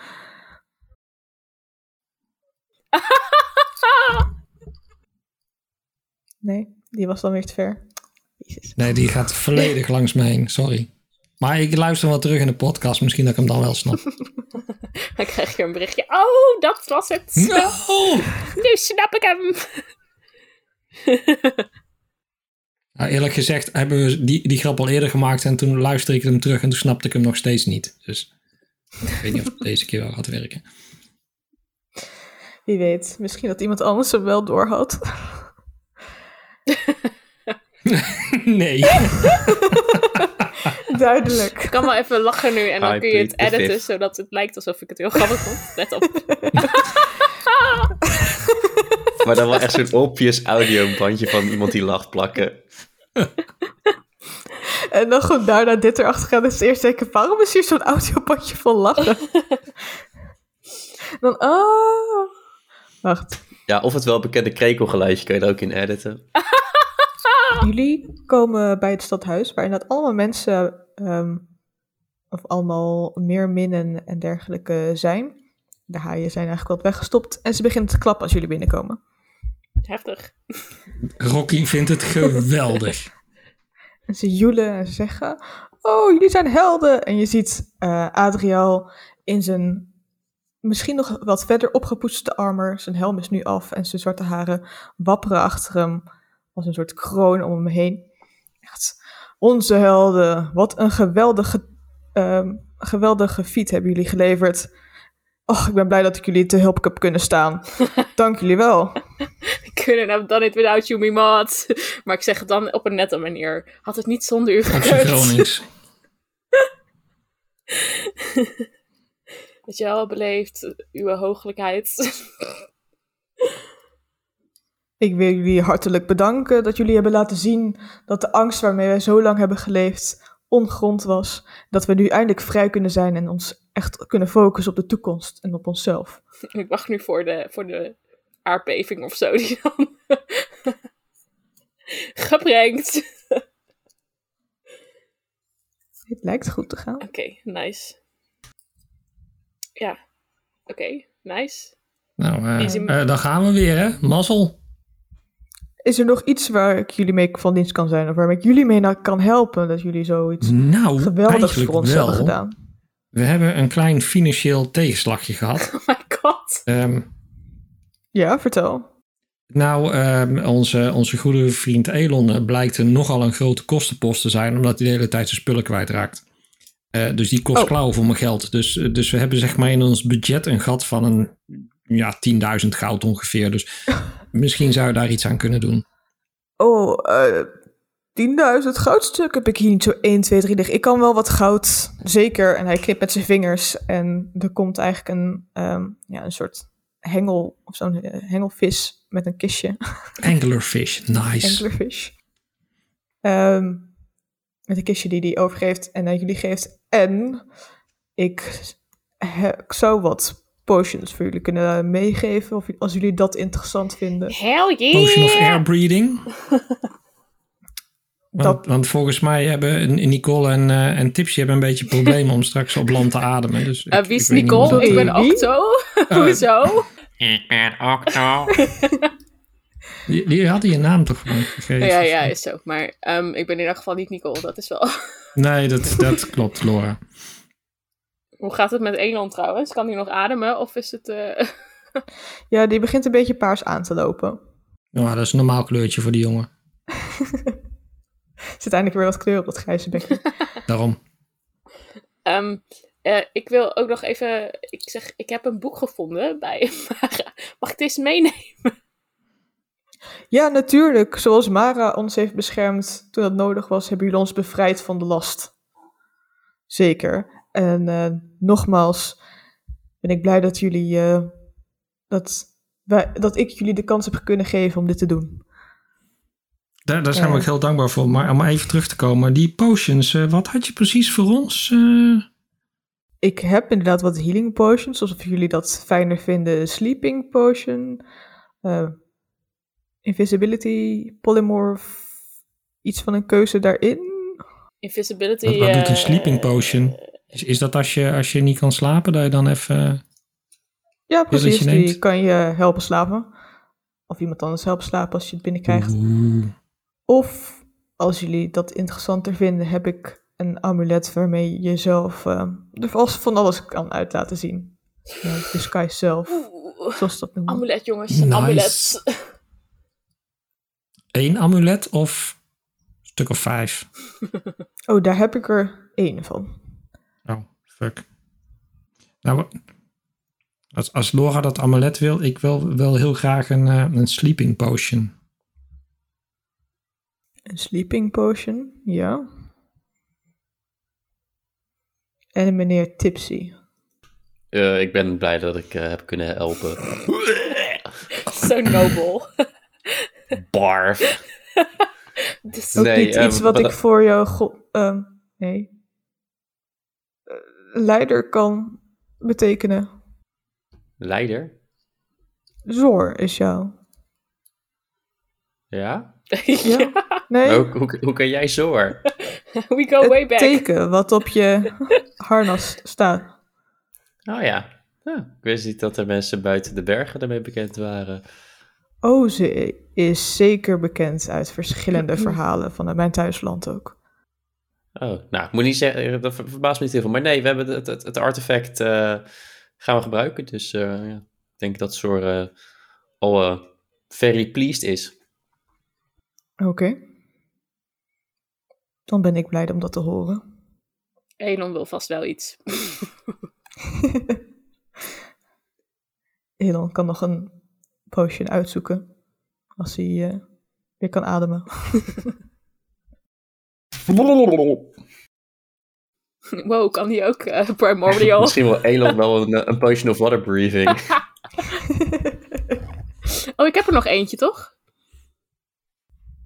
B: Ah.
A: Nee, die was dan weer te ver. Jezus.
C: Nee, die gaat volledig langs me heen. Sorry. Maar ik luister wel terug in de podcast. Misschien dat ik hem dan wel snap.
B: Dan krijg je een berichtje. Oh, dat was het.
D: Hm?
C: No!
B: Nu snap ik hem.
C: Nou, eerlijk gezegd hebben we die, die grap al eerder gemaakt. En toen luisterde ik hem terug. En toen snapte ik hem nog steeds niet. Dus ik weet niet of het deze keer wel gaat werken.
A: Wie weet, misschien dat iemand anders hem wel doorhad.
C: nee.
A: Duidelijk.
B: Ik kan wel even lachen nu en dan
D: Hi,
B: kun je het
D: Piet, de
B: editen,
D: Viv.
B: zodat het lijkt alsof ik het heel grappig vond. Let op.
D: Maar dan wel echt zo'n obvious audiobandje van iemand die lacht plakken.
A: En dan gewoon daarna dit erachter gaan. Dus eerst denken, waarom is hier zo'n audiopotje vol lachen? dan, oh. Wacht.
D: Ja, of het wel bekende krekelgeluidje kan je er ook in editen.
A: Jullie komen bij het stadhuis, waar inderdaad allemaal mensen, ehm, of allemaal meerminnen en dergelijke zijn. De haaien zijn eigenlijk wat weggestopt en ze beginnen te klappen als jullie binnenkomen.
B: Heftig.
C: Rocky vindt het geweldig.
A: En ze joelen en ze zeggen, oh, jullie zijn helden. En je ziet eh, Adriaal in zijn misschien nog wat verder opgepoetste armor. Zijn helm is nu af en zijn zwarte haren wapperen achter hem als een soort kroon om hem heen. Echt, onze helden, wat een geweldige, ehm, geweldige feat hebben jullie geleverd. Och, ik ben blij dat ik jullie te hulp heb kunnen staan. Dank jullie wel.
B: Ik couldn't have done it without you, me maat. Maar ik zeg het dan op een nette manier. Had het niet zonder u
C: Op zijn
B: gekund.
C: Gronings.
B: Weet je wel, beleefd. Uw hooglijkheid.
A: Ik wil jullie hartelijk bedanken dat jullie hebben laten zien dat de angst waarmee wij zo lang hebben geleefd ongrond was. Dat we nu eindelijk vrij kunnen zijn en ons echt kunnen focussen op de toekomst en op onszelf.
B: Ik wacht nu voor de, voor de aardbeving of zo. Die dan gebrengt.
A: Het lijkt goed te gaan.
B: Oké, nice. Ja, oké, nice.
C: Nou, eh,
B: Is hem-
C: eh, dan gaan we weer, hè? Mazzel.
A: Is er nog iets waar ik jullie mee van dienst kan zijn of waarmee ik jullie mee naar kan helpen dat jullie zoiets
C: Nou,
A: geweldigs
C: eigenlijk
A: voor ons
C: wel.
A: hebben gedaan?
C: We hebben een klein financieel tegenslagje gehad.
B: Oh my god.
C: Ehm,
A: Ja, vertel.
C: nou, ehm, onze, onze goede vriend Elon eh, blijkt een nogal een grote kostenpost te zijn, omdat hij de hele tijd zijn spullen kwijtraakt. Eh, dus die kost
A: Oh.
C: klauw voor mijn geld. Dus, eh, dus we hebben zeg maar in ons budget een gat van een ja, 10.000 goud ongeveer. Dus misschien zou je daar iets aan kunnen doen.
A: Oh, eh 10.000 goudstuk heb ik hier niet zo 1, 2, 3 liggen. Ik kan wel wat goud, zeker. En hij knipt met zijn vingers en er komt eigenlijk een, ehm, ja, een soort hengel, of zo'n eh, hengelvis met een kistje.
C: Anglerfish, nice.
A: Anglerfish. Ehm, met een kistje die hij overgeeft en aan jullie geeft. En ik, he- ik zou wat potions voor jullie kunnen eh, meegeven, of, als jullie dat interessant vinden.
B: Hell
C: Potion of
B: yeah!
C: air breathing. Want,
A: Dat-
C: want volgens mij hebben Nicole en, eh, en Tipsy hebben een beetje problemen om straks op land te ademen. Dus ik-
B: Eh, wie
C: ik
B: is
C: weet niet of
B: Nicole?
C: dat,
B: Ik
A: eh,
B: ben
A: wie?
B: Octo.
C: eh,
B: Hoezo?
E: Ik ben Octo.
C: die, die hadden je naam toch gewoon gegeven?
B: Ja, ja, is zo. Maar ehm, ik ben in ieder geval niet Nicole. Dat is wel...
C: Nee, dat, dat klopt, Laura.
B: Hoe gaat het met Elon trouwens? Kan hij nog ademen? Of is het... eh,
A: Ja, die begint een beetje paars aan te lopen.
C: Nou, dat is een normaal kleurtje voor die jongen.
A: Er zit eindelijk weer wat kleur op dat grijze bekje.
C: Daarom.
B: Ehm, eh, ik wil ook nog even. Ik zeg, ik heb een boek gevonden bij Mara. Mag ik deze meenemen?
A: ja, natuurlijk. Zoals Mara ons heeft beschermd toen dat nodig was, hebben jullie ons bevrijd van de last. Zeker. En eh, nogmaals ben ik blij dat jullie. eh, dat, wij, dat ik jullie de kans heb kunnen geven om dit te doen.
C: Daar, daar zijn we
A: Ja.
C: ook heel dankbaar voor. Maar om even terug te komen, die potions, eh, wat had je precies voor ons? eh?
A: Ik heb inderdaad wat healing potions, alsof jullie dat fijner vinden. Sleeping potion, eh, invisibility, polymorph, iets van een keuze daarin.
B: Invisibility.
C: Wat- wat doet een
B: eh,
C: sleeping potion? is, is dat als je, als je niet kan slapen, dat je dan even...
A: Ja,
C: Dus dat je
A: precies. Die
C: neemt.
A: kan je helpen slapen. of iemand anders helpt slapen als je het binnenkrijgt.
C: Mhm.
A: Of als jullie dat interessanter vinden, heb ik een amulet waarmee je jezelf eh, er als van alles kan uit laten zien. Ja, de sky zelf,
B: Oeh,
A: zoals ze dat noemen.
B: amulet jongens,
C: Nice.
B: amulet.
C: Eén amulet of een stuk of vijf?
A: Oh, daar heb ik er één van.
C: Oh, fuck. Nou, als, als Laura dat amulet wil, ik wil wel heel graag een, eh, een sleeping potion.
A: Een sleeping potion, ja. En een meneer Tipsy.
D: Eh, ik ben blij dat ik eh, heb kunnen helpen.
B: Zo nobel.
D: Barf.
B: Dus
A: Ook
D: Nee,
A: niet
D: eh,
A: iets wat,
D: wat-
A: ik voor jou... go- ehm, nee. Eh, leider kan betekenen.
D: Leider?
A: Zor is jou.
D: Ja?
B: ja.
A: Nee,
D: Ook, hoe, hoe kan jij zoor?
B: We go way
A: het
B: back.
A: teken wat op je harnas staat.
D: Oh ja. Huh, Ik wist niet dat er mensen buiten de bergen daarmee bekend waren.
A: Oh, ze is zeker bekend uit verschillende verhalen vanuit mijn thuisland ook.
D: Oh, nou, ik moet niet zeggen, dat ver- verbaast me niet heel veel. Maar nee, we hebben het, het, het artefact eh, gaan we gebruiken. Dus eh, ja, ik denk dat Zor eh, al eh, very pleased is.
A: Oké. Dan ben ik blij om dat te horen.
B: Elon wil vast wel iets.
A: Elon kan nog een potion uitzoeken. Als hij eh, weer kan ademen.
B: wow, kan die ook eh, primordial?
D: Misschien wil Elon wel een, eh, een potion of water breathing.
B: oh, ik heb er nog eentje, toch?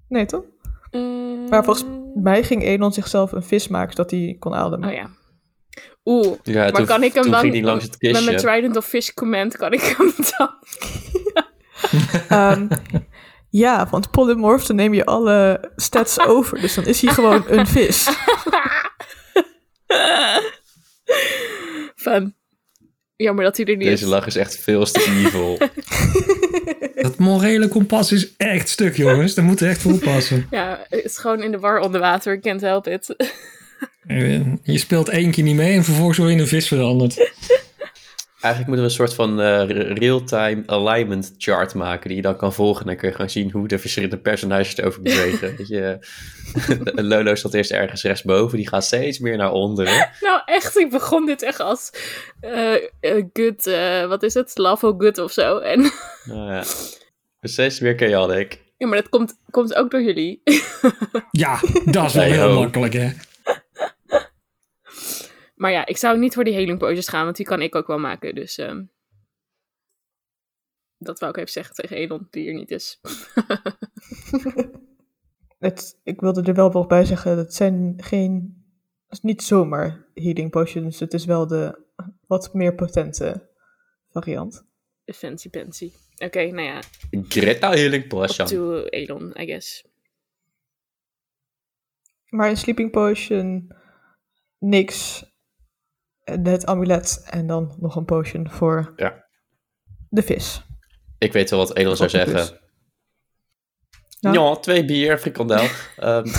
A: nee, toch?
B: Eh,
A: Maar volgens mij ging Elon zichzelf een vis maken zodat hij kon ademen.
B: Oh ja. Oeh,
D: Ja,
B: maar
D: toen,
B: kan ik hem
D: toen
B: dan...
D: ging hij langs het
B: Met mijn
D: kistje.
B: Trident of Fish comment kan ik hem dan...
A: Ehm, ja, want polymorph, dan neem je alle stats over. Dus dan is hij gewoon een vis.
B: Fun. Jammer dat hij er niet
D: Deze
B: is.
D: lach is echt veel te evil.
C: Dat morele kompas is echt stuk, jongens. Daar moeten we echt voor oppassen.
B: Ja, het is gewoon in de war onder water. Can't help it.
C: Eh, Je speelt één keer niet mee en vervolgens word je in een vis veranderd.
D: Eigenlijk moeten we een soort van eh, re- real-time alignment chart maken die je dan kan volgen. Dan kun je gewoon zien hoe de verschillende personages het over bewegen. Weet je, eh, Lolo zat eerst ergens rechtsboven, die gaat steeds meer naar onderen.
B: nou, echt. Ik begon dit echt als... eh, eh, good... eh, wat is het? Love oh good of zo. En,
D: Nou ja, steeds meer chaotic.
B: ja, maar dat komt, komt ook door jullie.
C: Ja, dat is wel
D: Hey,
C: heel
D: ho.
C: makkelijk, hè?
B: maar ja, ik zou niet voor die healing potions gaan. Want die kan ik ook wel maken. Dus... ehm, dat wou ik even zeggen tegen Elon, die er niet is.
A: Het, ik wilde er wel nog bij zeggen, het zijn geen... Het is niet zomaar healing potions. Het is wel de wat meer potente variant.
B: Fancy Pansy. Oké, nou ja.
D: Greta Healing
B: Up
D: Potion.
B: to Elon, I guess.
A: Maar een sleeping potion, niks, en het amulet en dan nog een potion voor
D: Ja.
A: de vis.
D: Ik weet wel wat Elon zou
A: Octopus.
D: zeggen.
A: Nou.
D: Ja, twee bier, frikandel. Ehm.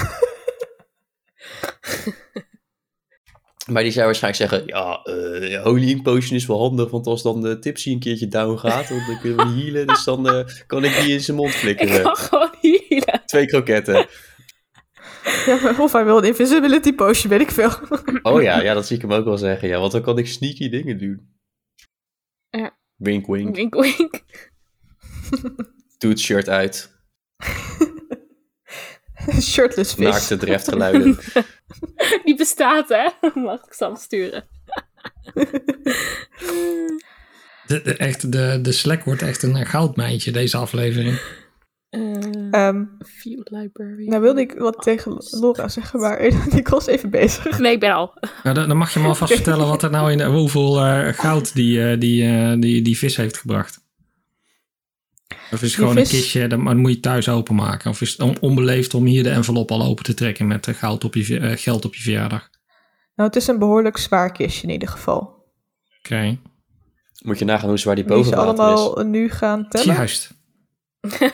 D: maar die zou waarschijnlijk zeggen, ja, eh holy ink potion is wel handig, want als dan de tipsy een keertje down gaat, want dan kunnen we healen, dus dan eh, kan ik die in zijn mond
B: Ik
D: flikkeren.
B: kan gewoon healen.
D: Twee kroketten.
A: Ja, maar of hij wil een invisibility potion, weet ik veel.
D: Oh ja, ja, dat zie ik hem ook wel zeggen, ja, want dan kan ik sneaky dingen doen.
B: Ja.
D: Wink wink,
B: Wink, wink.
D: doe het shirt uit,
A: Shirtless vis.
D: naakte dreftgeluiden.
B: Die bestaat, hè? Mag ik ze sturen?
C: De, de, echt, de, de Slack wordt echt een eh, goudmijntje, deze aflevering.
A: Ehm,
B: Field Eh, Library. Oh.
A: Nou wilde ik wat tegen Laura zeggen, maar ik was even bezig.
B: Nee, ik ben al.
C: Nou, dan, dan mag je me alvast vertellen wat er nou in, hoeveel eh, goud die, eh, die, eh, die, die vis heeft gebracht. Of is het gewoon
A: vis-
C: een kistje, dan, maar dan moet je thuis openmaken. Of is het on- onbeleefd om hier de envelop al open te trekken met eh, goud op je, ve- eh, geld op je verjaardag?
A: Nou, het is een behoorlijk zwaar kistje in ieder geval.
C: Oké,
D: Moet je nagaan hoe zwaar die
A: Die ze
D: bovenwater is.
A: allemaal nu gaan tellen.
C: juist.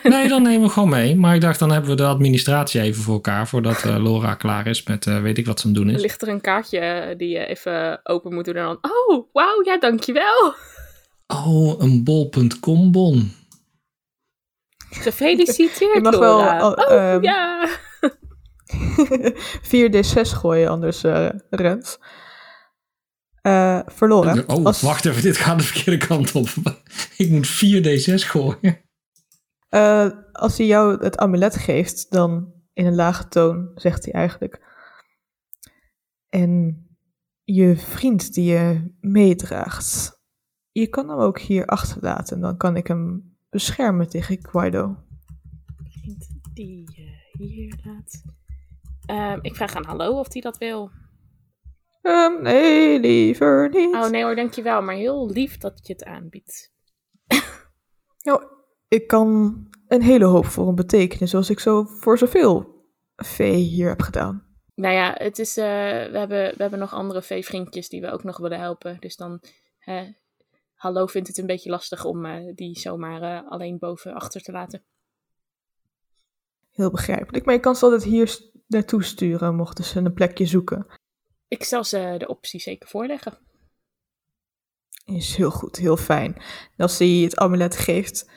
C: Nee, dan nemen we gewoon mee. Maar ik dacht, dan hebben we de administratie even voor elkaar. Voordat eh, Laura klaar is met eh, weet ik wat ze aan het doen
B: Er
C: is.
B: ligt er een kaartje eh, die je even open moet doen en dan... Oh, wauw, ja, dankjewel.
C: Oh, een bol.com bon.
B: Gefeliciteerd,
A: Je mag wel,
B: Laura.
A: al-
B: oh,
A: ehm,
B: ja.
A: 4d6 gooien, anders eh rent. Eh voor Laura.
C: Oh,
A: Als-
C: wacht even. Dit gaat de verkeerde kant op. Ik moet 4d6 gooien.
A: Eh, als hij jou het amulet geeft, dan in een lage toon zegt hij eigenlijk. En je vriend die je meedraagt, je kan hem ook hier achterlaten. En dan kan ik hem beschermen tegen Guido.
B: Die je hier laat. Ehm, ik vraag aan Hallo of die dat wil.
A: Ehm, nee, liever niet.
B: Oh nee hoor, dankjewel. Maar heel lief dat je het aanbiedt.
A: Nou, ik kan een hele hoop voor hem betekenen, zoals ik zo voor zoveel vee hier heb gedaan.
B: Nou ja, het is, eh, we, hebben, we hebben nog andere veevriendjes die we ook nog willen helpen. Dus dan, hè, Hallo vindt het een beetje lastig om eh, die zomaar eh, alleen boven achter te laten.
A: Heel begrijpelijk. Maar je kan ze altijd hier s- naartoe sturen, mochten ze een plekje zoeken.
B: Ik zal ze eh, de optie zeker voorleggen.
A: Is heel goed, heel fijn. En als hij het amulet geeft,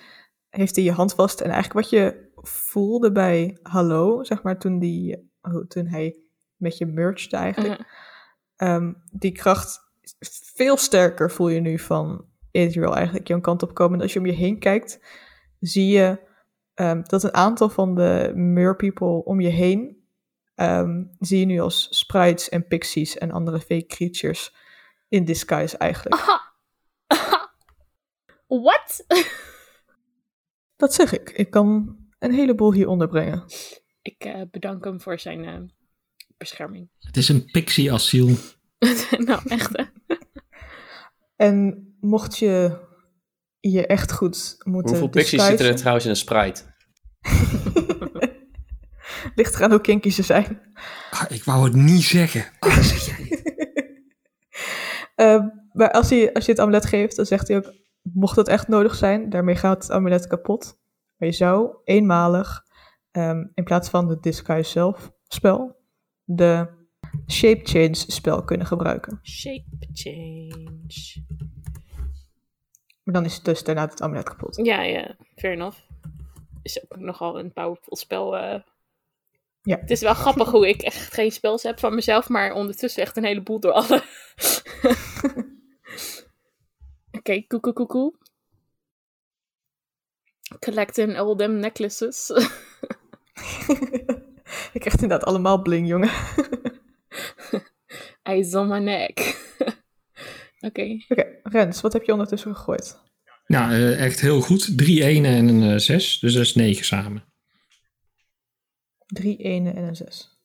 A: heeft hij je hand vast. En eigenlijk wat je voelde bij Hallo, zeg maar, toen, die, oh, toen hij met je merged eigenlijk. ehm, die kracht, is veel sterker voel je nu van Israel eigenlijk jouw kant op komen. En als je om je heen kijkt, zie je ehm, dat een aantal van de merpeople om je heen... ehm, zie je nu als sprites en pixies en andere fake creatures in disguise eigenlijk.
B: Aha! Aha! Wat?
A: Dat zeg ik. Ik kan een heleboel hier onderbrengen.
B: Ik eh, bedank hem voor zijn eh, bescherming.
C: Het is een pixie-asiel.
B: nou, echt hè?
A: En mocht je je echt goed moeten
D: Hoeveel pixies zitten er
A: disguisen-
D: trouwens in een sprite?
A: Ligt eraan hoe kinky ze zijn.
C: Ah, ik wou het niet zeggen. Ah, dat zeg jij.
A: Ehm, maar als, hij, als je het amulet geeft, dan zegt hij ook... Mocht dat echt nodig zijn, daarmee gaat het amulet kapot. Maar je zou eenmalig, ehm, in plaats van het disguise zelf spel... de shape change spel kunnen gebruiken.
B: Shape change.
A: Maar dan is het dus daarna het amulet kapot.
B: Ja, ja, fair enough. Is ook nogal een powerful spel. eh.
A: Ja.
B: Het is wel grappig hoe ik echt geen spels heb van mezelf, maar ondertussen echt een heleboel door alle. Oké, koe, koe, koe, koe. Collecting all them necklaces.
A: ik krijg inderdaad allemaal bling, jongen.
B: Eyes on my neck. Oké.
A: Oké, Rens, wat heb je ondertussen gegooid?
C: Nou, eh, echt heel goed. Drie enen en een eh, zes. Dus dat is negen samen.
A: Drie ene en een zes.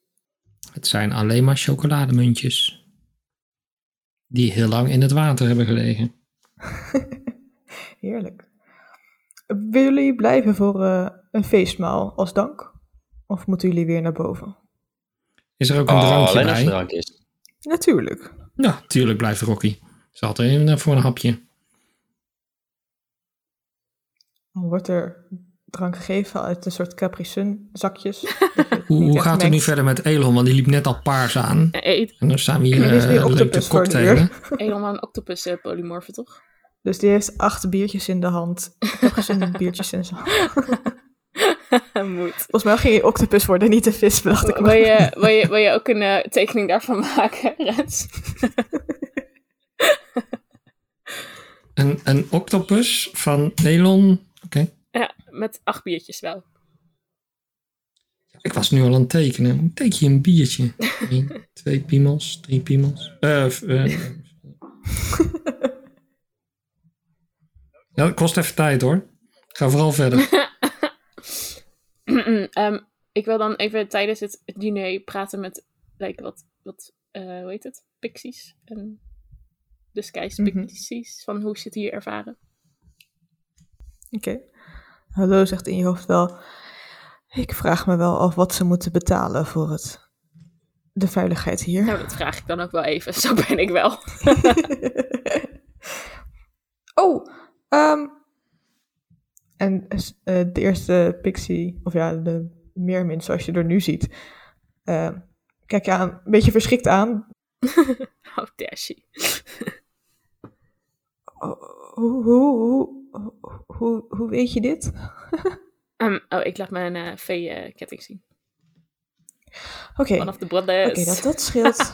C: Het zijn alleen maar chocolademuntjes. Die heel lang in het water hebben gelegen.
A: Heerlijk. Willen jullie blijven voor eh, een feestmaal als dank? Of moeten jullie weer naar boven?
C: Is er ook een
D: Oh,
C: drankje
D: alleen als
C: bij?
D: er drank is.
A: Natuurlijk.
C: Ja, tuurlijk blijft Rocky. Ze had er een eh, voor een hapje.
A: Dan wordt er drank gegeven uit een soort Capri Sun zakjes. dat je het
C: Hoe,
A: niet
C: hoe
A: echt
C: gaat het nu
A: mengt.
C: verder met Elon? Want die liep net al paars aan.
B: Eh,
C: En dan staan we hier
A: Er is
C: eh,
A: nu
C: leuk
A: octopus
C: te
A: voor een
C: cocktailen.
B: Helemaal een octopus eh, polymorfe, toch?
A: Dus die heeft acht biertjes in de hand. Capri Sun biertjes in zijn hand.
B: Moet.
A: Volgens mij ging hij octopus worden, niet een vis, bedacht ik.
B: Wil je, wil, je, wil je ook een eh, tekening daarvan maken, Rens?
C: Een, een octopus van Elon. Oké.
B: Ja, met acht biertjes wel.
C: Ik was nu al aan het tekenen. Hoe Teken je een biertje? Eén, twee piemels, drie piemels. Eh, f- eh. Ja, dat Nou, kost even tijd hoor. Ga vooral verder.
B: Ehm, ik wil dan even tijdens het diner praten met, like, wat, wat eh, hoe heet het? Pixies. En de Skies
A: Mhm.
B: Pixies. Van hoe ze het hier ervaren.
A: Oké. Hallo zegt in je hoofd wel. Ik vraag me wel af wat ze moeten betalen voor het, de veiligheid hier.
B: Nou, dat vraag ik dan ook wel even. Zo ben ik wel.
A: oh, ehm, En eh, de eerste pixie, of ja, de meermin zoals je er nu ziet, eh, kijk je aan, een beetje verschrikt aan.
B: How dare she?
A: Oh, Hoe, hoe, hoe, hoe, hoe weet je dit?
B: Ehm, oh, ik laat mijn eh vee-ketting zien.
A: Oké,
B: Vanaf de brothers.
A: Oké, dat, dat scheelt.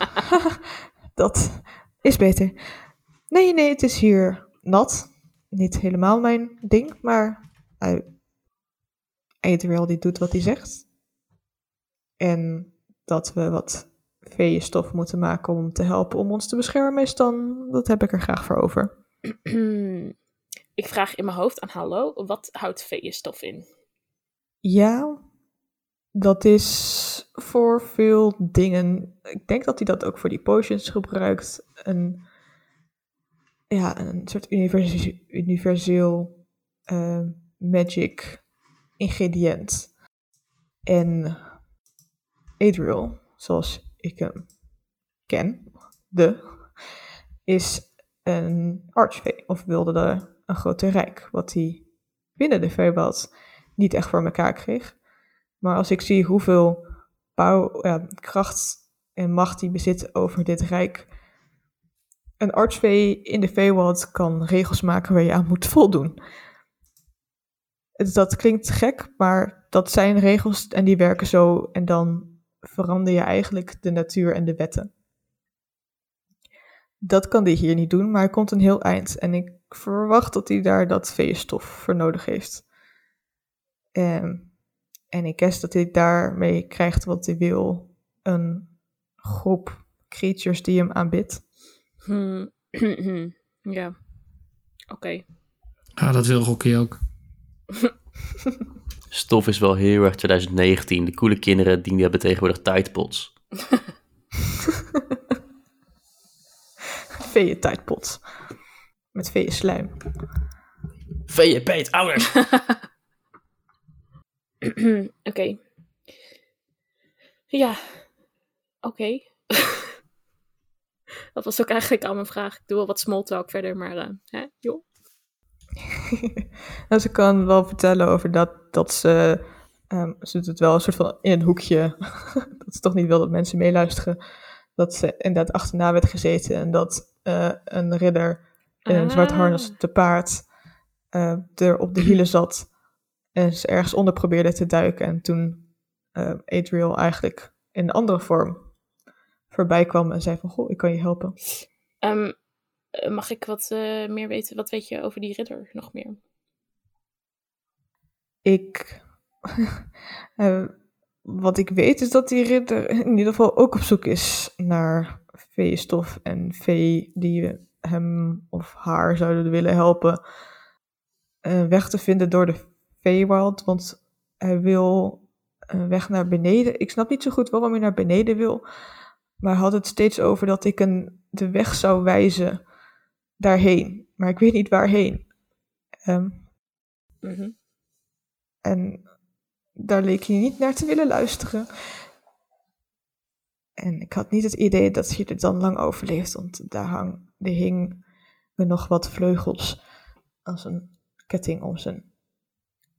A: dat is beter. Nee, nee, het is hier nat. Niet helemaal mijn ding, maar uh, Adriel die doet wat hij zegt. En dat we wat veeënstof moeten maken om hem te helpen om ons te beschermen is dan, dat heb ik er graag voor over.
B: ik vraag in mijn hoofd aan Hallo, wat houdt veeënstof in?
A: Ja, dat is voor veel dingen. Ik denk dat hij dat ook voor die potions gebruikt. Een, ja, een soort universe- universeel eh, magic ingrediënt. En Adriel, zoals ik hem ken, de, is een archvee of wilde de, een grote rijk, wat hij binnen de Feywild niet echt voor elkaar kreeg. Maar als ik zie hoeveel bouw, ja, kracht en macht die bezit over dit rijk. Een archvee in de Feywild kan regels maken waar je aan moet voldoen. Het- Dat klinkt gek, maar dat zijn regels en die werken zo. En dan verander je eigenlijk de natuur en de wetten. Dat kan die hier niet doen, maar hij komt een heel eind. En ik verwacht dat hij daar dat veestof voor nodig heeft. Ehm, en ik guess dat hij daarmee krijgt wat hij wil. Een groep creatures die hem aanbidt.
B: Hmm. ja. Oké.
C: Ah, dat wil Rocky ook.
D: Stof is wel heel erg 2019. De coole kinderen die hebben tegenwoordig tijdpots.
A: Veeën tijdpot. Met veeën slijm.
D: VJP, ouders!
B: Oké. Ja. Oké. dat was ook eigenlijk al mijn vraag. Ik doe wel wat small talk verder, maar eh, hè, joh.
A: en ze kan wel vertellen over dat, dat ze... ehm, ze doet het wel een soort van in een hoekje. dat ze toch niet wil dat mensen meeluisteren. Dat ze inderdaad achterna werd gezeten. En dat eh, een ridder in een zwart
B: Ah.
A: harnas te paard eh, er op de hielen zat en ze ergens onder probeerde te duiken. En toen eh Adriel eigenlijk in een andere vorm voorbij kwam en zei van, goh, ik kan je helpen.
B: Ehm, eh, mag ik wat eh, meer weten? Wat weet je over die ridder nog meer?
A: Ik. eh, wat ik weet is dat die ridder in ieder geval ook op zoek is naar veestof en vee die hem of haar zouden willen helpen een weg te vinden door de veewild. Want hij wil een weg naar beneden. Ik snap niet zo goed waarom hij naar beneden wil. Maar hij had het steeds over dat ik een, de weg zou wijzen daarheen. Maar ik weet niet waarheen. Ehm,
B: Mhm.
A: en daar leek hij niet naar te willen luisteren. En ik had niet het idee dat hij er dan lang overleefd, want daar hang, er hing er nog wat vleugels als een ketting om zijn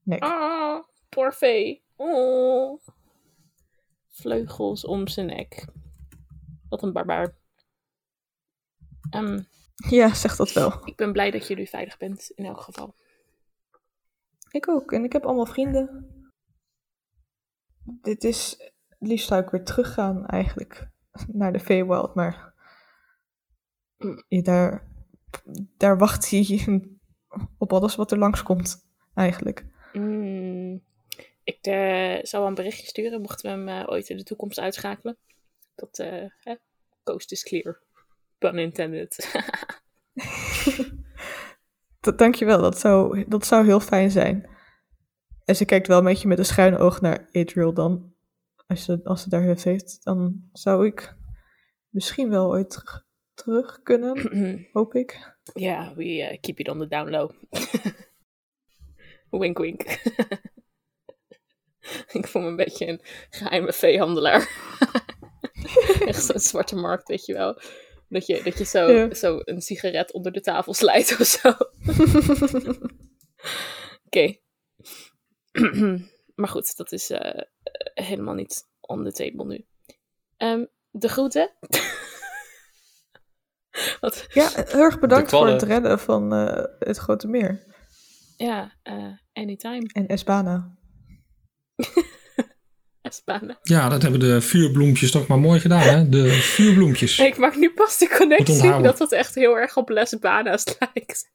A: nek.
B: Ah, poor Vee. Oh. Vleugels om zijn nek. Wat een barbaar. Ehm,
A: Ja, zeg dat wel.
B: ik ben blij dat jullie veilig bent, in elk geval.
A: Ik ook, en ik heb allemaal vrienden. Dit is, liefst zou ik weer teruggaan eigenlijk naar de Feywild, maar
B: Mm.
A: ja, daar, daar wacht hij op alles wat er langskomt eigenlijk.
B: Mm. Ik eh, zal wel een berichtje sturen, mochten we hem eh, ooit in de toekomst uitschakelen. Dat, eh, hè? coast is clear. Pun intended.
A: D- dankjewel, dat zou, dat zou heel fijn zijn. En ze kijkt wel een beetje met een schuin oog naar Adriel dan. Als ze, als ze daar heeft, heeft, dan zou ik misschien wel ooit terug, terug kunnen, hoop ik.
B: Ja, we eh, keep it on the down low. wink wink. ik voel me een beetje een geheime veehandelaar. Echt zo'n zwarte markt, weet je wel. Dat je, dat je zo,
A: Ja.
B: zo een sigaret onder de tafel slijt of zo. Oké, maar goed, dat is eh, helemaal niet on the table nu. Ehm, de groeten. Wat,
A: Ja, heel erg bedankt voor
D: kwallen.
A: het redden van eh, het Grote Meer.
B: ja, eh, anytime.
A: En Esbana.
B: Espana.
C: Ja, dat hebben de vuurbloempjes toch maar mooi gedaan, hè? De vuurbloempjes.
B: Ik maak nu pas de
C: Moet
B: connectie
C: onthouden.
B: dat dat echt heel erg op Les Banas lijkt.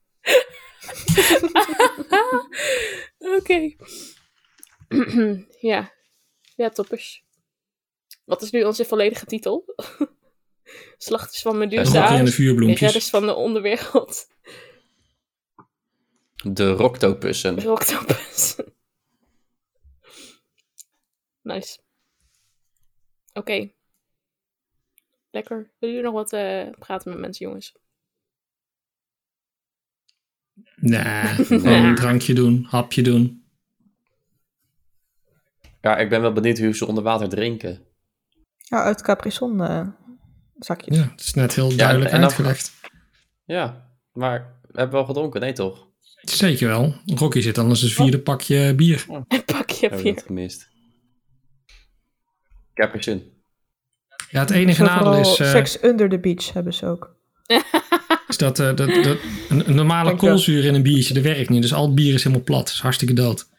B: Oké. ja. Ja, toppers. Wat is nu onze volledige titel? Slachters van
C: De Rocky
B: Medusa.
C: en de vuurbloempjes.
B: Redders van de onderwereld.
D: De Roctopussen.
B: Rocktopus. nice. Oké. Lekker. Willen jullie nog wat eh, praten met mensen, jongens?
C: Nee, gewoon een drankje doen, hapje doen.
D: Ja, ik ben wel benieuwd hoe ze onder water drinken.
A: Ja, uit Caprison eh, zakjes.
C: Ja, het is net heel duidelijk
D: en dan-
C: uitgelegd.
D: Ja, maar we hebben wel gedronken, nee toch?
C: Zeker wel. Rocky zit anders een vierde pakje bier.
B: En pak je
D: Hebben we
B: weer.
D: dat gemist? Ik heb er zin.
C: Ja, het enige nadeel
A: Overal
C: is, eh,
A: Sex Under the Beach hebben ze ook.
C: is dat, eh, dat, dat een, een normale
A: Dank je wel.
C: koolzuur in een biertje, dat werkt niet. Dus al het bier is helemaal plat. is hartstikke dood. Het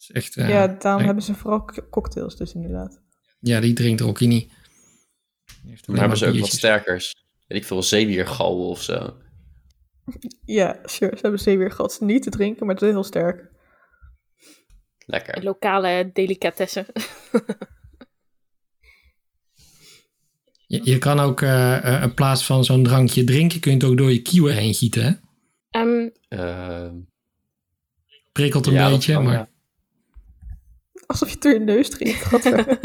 C: is echt, eh,
A: ja,
C: ja.
A: daarom
C: nee.
A: hebben ze vooral k- cocktails dus inderdaad.
C: die drinkt Rocky niet. Die heeft alleen
D: Maar hebben ze ook wat
C: biertjes.
D: sterkers? Weet ik veel, zeewiergallen of zo.
A: Ja, sure. Ze hebben zeewier gehad. Ze Niet te drinken, maar het is heel sterk.
D: Lekker.
B: Lokale delicatessen.
C: Je, je kan ook eh, eh, in plaats van zo'n drankje drinken, kun je het ook door je kieuwen heen gieten. Hè?
B: Ehm,
D: Eh,
C: Prikkelt een
D: ja, dat
C: beetje,
D: kan,
C: maar
D: ja.
A: Alsof je het door je neus drinkt. Gadver.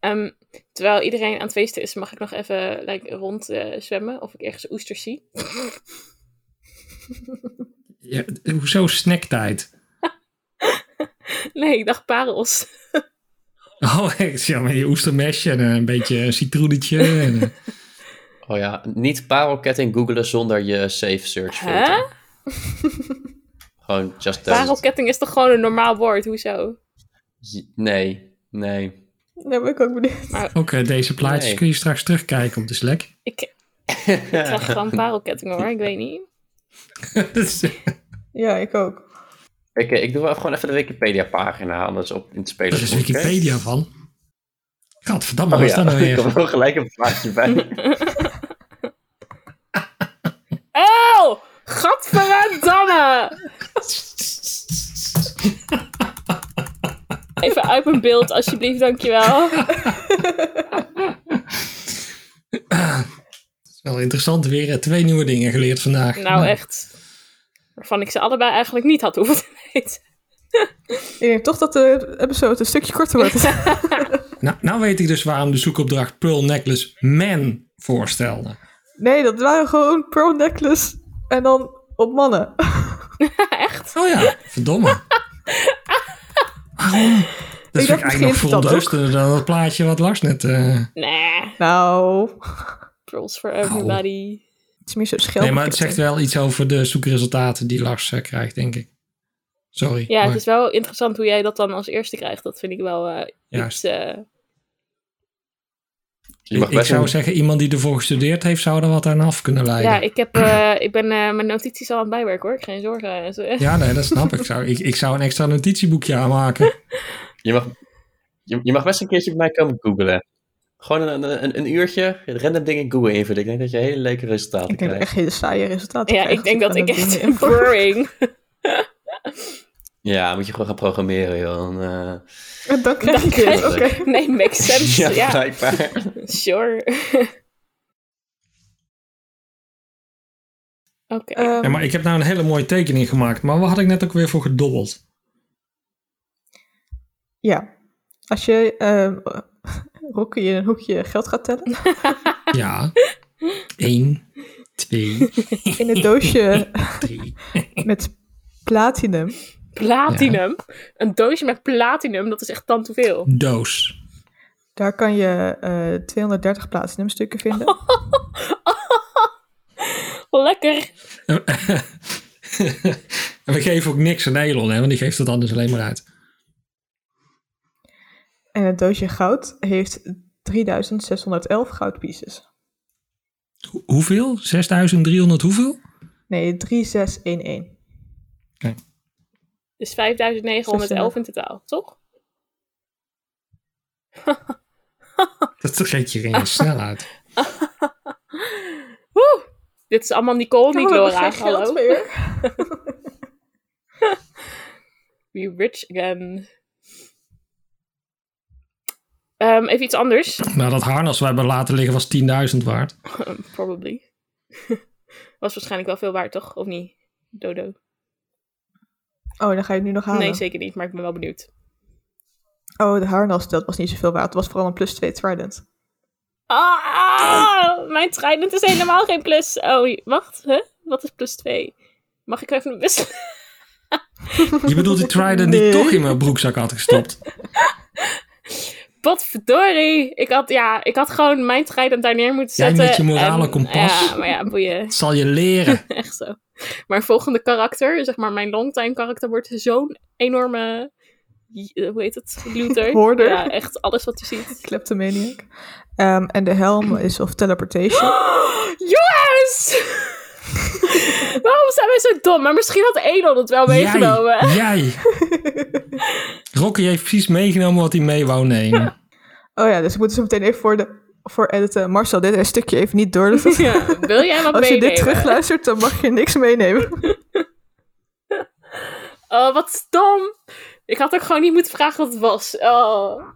B: ehm, terwijl iedereen aan het feesten is, mag ik nog even like, rond eh, zwemmen of ik ergens oesters zie.
C: Ja, hoezo snacktijd?
B: Nee, ik dacht parels.
C: Oh, ik zie al met je oestermesje en eh, een beetje citroenetje. en, eh,
D: Oh ja, niet parelketting googelen zonder je safe search
B: Hè?
D: filter. Gewoon just that.
B: Parelketting is toch gewoon een normaal woord? Hoezo?
D: Nee, nee.
A: nou ben ik ook benieuwd.
C: ook eh, deze plaatjes
D: Nee.
C: kun je straks terugkijken op de Slack.
B: Ik krijg gewoon parelketting hoor, ik weet niet.
C: Dat is-
A: Ja, ik ook.
D: Oké, ik doe wel gewoon even de Wikipedia-pagina anders op in het
C: Daar
D: spelen.
C: is Wikipedia van. Gadverdamme,
D: Oh
C: wat is dat
D: ja,
C: nou
D: ik heb
C: weer?
D: wel gelijk een plaatje bij.
B: Oh! Gadverdamme! Even uit mijn beeld, alsjeblieft, dankjewel.
C: Wel interessant weer, eh, twee nieuwe dingen geleerd vandaag.
B: Nou, echt. Waarvan ik ze allebei eigenlijk niet had hoeven te weten.
A: Ik denk toch dat de episode een stukje korter wordt.
C: Nou, nou weet ik dus waarom de zoekopdracht Pearl Necklace Man voorstelde.
A: nee, dat waren gewoon pearl necklace en dan op mannen.
C: Oh ja, verdomme. Waarom? Dat
A: Ik
C: vind ik
A: dacht,
C: eigenlijk
A: misschien
C: nog
A: is het dat ook.
C: verontrustender dan dat plaatje wat Lars net... eh,
B: Nee,
A: Nou,
B: trolls for everybody.
A: het is meer zo schelp.
C: Nee, maar het zegt wel iets over de zoekresultaten die Lars eh, krijgt, denk ik. Sorry.
B: Ja,
C: maar-
B: het is wel interessant hoe jij dat dan als eerste krijgt. Dat vind ik wel eh,
C: Juist.
B: iets... eh,
D: Je mag
C: ik
D: best
C: zou
D: een-
C: zeggen, iemand die ervoor gestudeerd heeft, zou er wat aan af kunnen leiden.
B: ja, ik, heb, eh, ik ben eh, mijn notities al aan het bijwerken hoor. Geen zorgen. eh, Zo-
C: Ja, nee, dat snap ik. Zou, ik. Ik zou een extra notitieboekje aanmaken.
D: je, mag, je, je mag best een keertje bij mij komen googelen. Gewoon een, een, een, een uurtje random dingen googelen invullen. Ik denk dat je hele leuke resultaten
A: Ik denk dat
D: krijgt.
A: echt hele saaie resultaten
B: Ja, ik
A: krijg als
B: denk dat
A: aan
B: ik
A: dat ding
B: echt
A: invul.
B: boring...
D: Ja, moet je gewoon gaan programmeren, joh. Dan, eh,
A: En dan krijg
B: Dan
A: ik dit, oké.
D: krijg ik-
B: Nee, makes sense.
D: ja,
B: ja.
D: blijkbaar.
B: Sure. Oké.
A: Ehm,
C: Ja, maar ik heb nou een hele mooie tekening gemaakt. Maar waar had ik net ook weer voor gedobbeld?
A: Ja. Als je ehm Rocky in een hoekje geld gaat tellen,
C: Ja. Eén, twee,
A: in het doosje
C: drie.
A: met platinum,
B: platinum. Een doosje met platinum, dat is echt dan te veel.
C: Doos.
A: daar kan je eh 230 platinumstukken vinden.
B: Oh, Lekker.
C: En we geven ook niks aan Elon, hè, want die geeft het anders alleen maar uit.
A: En het doosje goud heeft 3611 goudpieces.
C: Ho- hoeveel? 6300 hoeveel?
A: Nee, 3611.
B: Dus 5911 in totaal, toch?
C: Dat geeft je geen snel uit.
B: Woe! Dit is allemaal Nicole, niet
A: Oh, we hebben
B: Laura.
A: geen geld
B: Hallo.
A: meer.
B: We rich again. Ehm, even iets anders.
C: Nou, dat harnas waar we laten liggen was 10.000 waard.
B: Ehm, Probably. Was waarschijnlijk wel veel waard, toch? Of niet? Dodo.
A: Oh, dan ga je het nu nog halen.
B: Nee, zeker niet, maar ik ben wel benieuwd.
A: Oh, de haarnas, dat was niet zoveel waard. Het was vooral een plus 2 trident.
B: Ah, mijn trident is helemaal geen plus. Oh, wacht. Huh? Wat is plus 2? Mag ik even wisselen?
C: Je bedoelt die trident die
A: Nee.
C: ik toch in mijn broekzak had gestopt.
B: Potverdorie. Ik had, ja, ik had gewoon mijn trident daar neer moeten
C: Jij met
B: zetten.
C: je morale
B: en-
C: kompas.
B: Ja, maar ja, boeien.
C: Dat zal je leren.
B: Echt zo. Mijn volgende karakter, zeg maar mijn longtime karakter, wordt zo'n enorme... j- eh, Hoe heet het? Looter.
A: Hoorder.
B: Ja, echt alles wat je ziet.
A: Kleptomaniac. Ehm, en de helm is of teleportation.
B: Jongens! Waarom zijn wij zo dom? Maar misschien had Edel dat wel meegenomen.
C: Jij, jij. Rocky heeft precies meegenomen wat hij mee wou nemen.
A: Oh ja, dus ik moet er zo meteen even voor, de, voor editen. Marcel, dit een stukje even niet door. Dus
B: Ja, wil jij wat
A: als je
B: meenemen?
A: dit terugluistert, dan mag je niks meenemen.
B: Oh, wat stom. Ik had ook gewoon niet moeten vragen wat het was. Oh.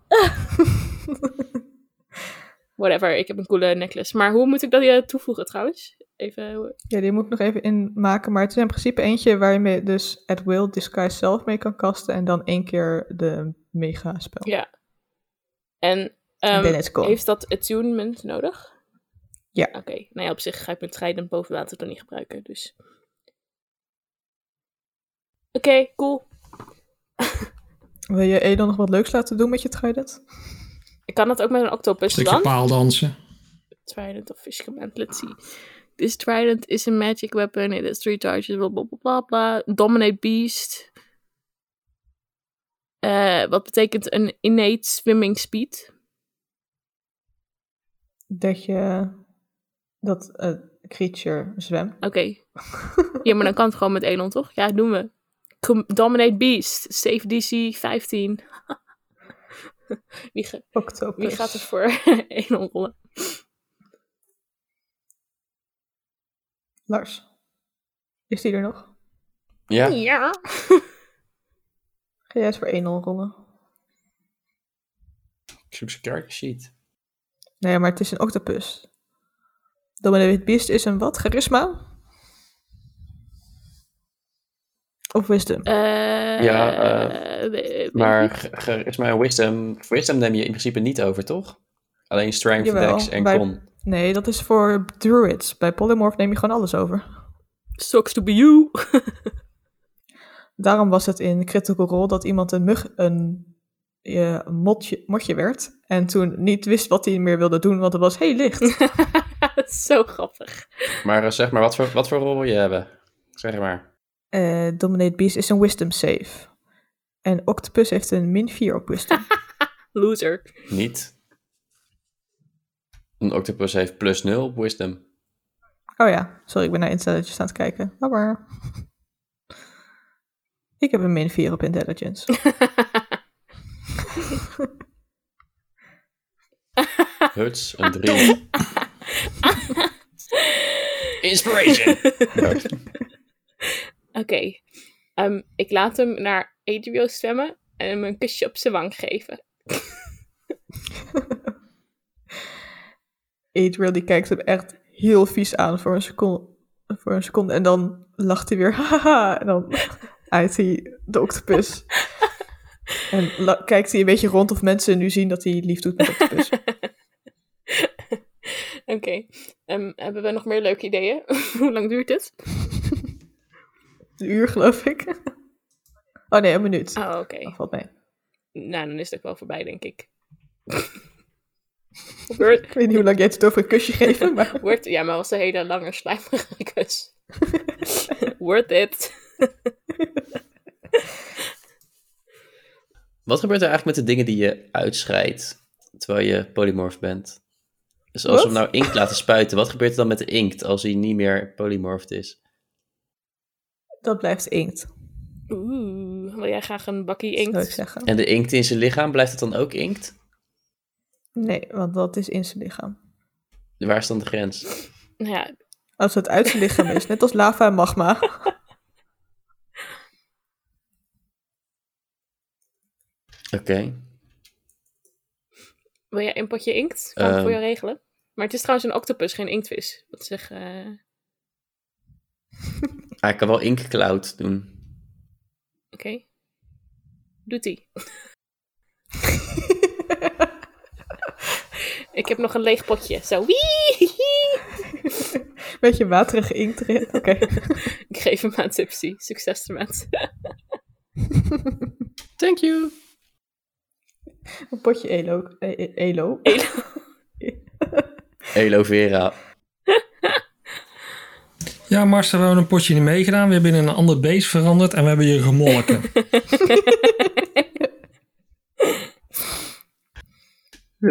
B: Whatever, ik heb een coole necklace. Maar hoe moet ik dat eh, toevoegen trouwens? Even...
A: Ja, die moet ik nog even inmaken. Maar het is in principe eentje waar je mee dus at will disguise zelf mee kan kasten. En dan één keer de mega spel.
B: Ja. En
A: En
B: ehm,
A: then it's gone.
B: heeft dat attunement nodig?
A: Ja.
B: Oké, nou ja, op zich ga ik mijn trident boven water dan niet gebruiken, dus... Oké, cool.
A: Wil je Edel nog wat leuks laten doen met je trident?
B: Ik kan dat ook met een octopus
C: Stukje
B: dan?
C: paaldansen.
B: Trident of fish command. Let's see. This trident is a magic weapon. It has three charges. Blah blah blah blah. blah. Dominate beast. Eh, wat betekent een innate swimming speed?
A: Dat je dat eh, creature zwemt.
B: Oké. ja, maar dan kan het gewoon met Elon, toch? Ja, doen we. Com- Dominate beast. Save DC 15. wie, ge-
A: Octopus.
B: wie gaat er voor Elon rollen?
A: Lars. Is die er nog?
D: Ja,
B: Ja.
A: Ga jij eens voor 1-0 rollen?
D: ik zoek zijn character sheet.
A: Nee, maar het is een octopus. Dominant Beast is een wat? Charisma? Of wisdom?
B: Eh,
D: Ja, eh,
B: eh, weet ik
D: Maar
B: niet.
D: ge- ge- is mijn wisdom, wisdom neem je in principe niet over, toch? Alleen strength,
A: Jawel,
D: dex en
A: bij-
D: con.
A: Nee, dat is voor druids. Bij polymorph neem je gewoon alles over.
B: Sucks to be you.
A: Daarom was het in Critical Role dat iemand een mug een eh, motje, motje werd. En toen niet wist wat hij meer wilde doen, want het was heel licht.
B: Dat is zo grappig.
D: Maar eh, zeg maar, wat voor, wat voor rol wil je hebben? Zeg maar.
A: Eh Dominate Beast is een wisdom save. En octopus heeft een min 4 op wisdom.
B: Loser.
D: Niet. Een octopus heeft plus 0 op wisdom.
A: Oh ja, sorry, ik ben naar intelligence aan het kijken. Maar, maar. Ik heb een min 4 op intelligence.
D: Huts,
A: Ah,
D: een 3. Inspiration!
B: Oké. Ehm, ik laat hem naar HBO stemmen en hem een kusje op zijn wang geven.
A: Adriel die kijkt hem echt heel vies aan voor een seconde. Voor een seconde en dan lacht hij weer. Haha. En dan uit hij de octopus. En la- kijkt hij een beetje rond of mensen nu zien dat hij lief doet met octopus.
B: Oké. Ehm, hebben we nog meer leuke ideeën? Hoe lang duurt dit?
A: Een uur, geloof ik. Oh nee, een minuut.
B: Oh, oké.
A: Dat valt mee.
B: Nou, dan is het ook wel voorbij, denk ik. Wordt,
A: Ik weet niet hoe lang jij het over een kusje geven, maar...
B: wordt, ja, maar was een hele lange slijmerige kus. Worth it.
D: Wat gebeurt er eigenlijk met de dingen die je uitscheidt terwijl je polymorf bent? Dus als
A: Wat?
D: we hem nou inkt laten spuiten, wat gebeurt er dan met de inkt als hij niet meer polymorfd is?
A: Dat blijft inkt,
B: Oeh, wil jij graag een bakkie
A: zou ik
B: inkt?
A: zeggen.
D: En de inkt in zijn lichaam, blijft het dan ook inkt?
A: Nee, want dat is in zijn lichaam.
D: Waar is dan de grens?
B: Nou ja,
A: Als het uit zijn lichaam is, net als lava en magma.
D: Oké.
B: wil jij een potje inkt? Kan ik
D: Ehm.
B: voor jou regelen? Maar het is trouwens een octopus, geen inktvis. Wat zeg... eh,
D: Hij kan Ah, wel inkcloud doen.
B: Oké. Doet ie. ik heb nog een leeg potje. Zo. Wee!
A: Beetje waterige inkt erin. Oké.
B: Ik geef hem aan Tipsy. Succes ermee.
D: Thank you.
A: Een potje elo. e- e- elo.
D: Elo Vera.
C: Ja, Mars, we hebben een potje niet meegedaan. We hebben je in een ander beest veranderd en we hebben je gemolken.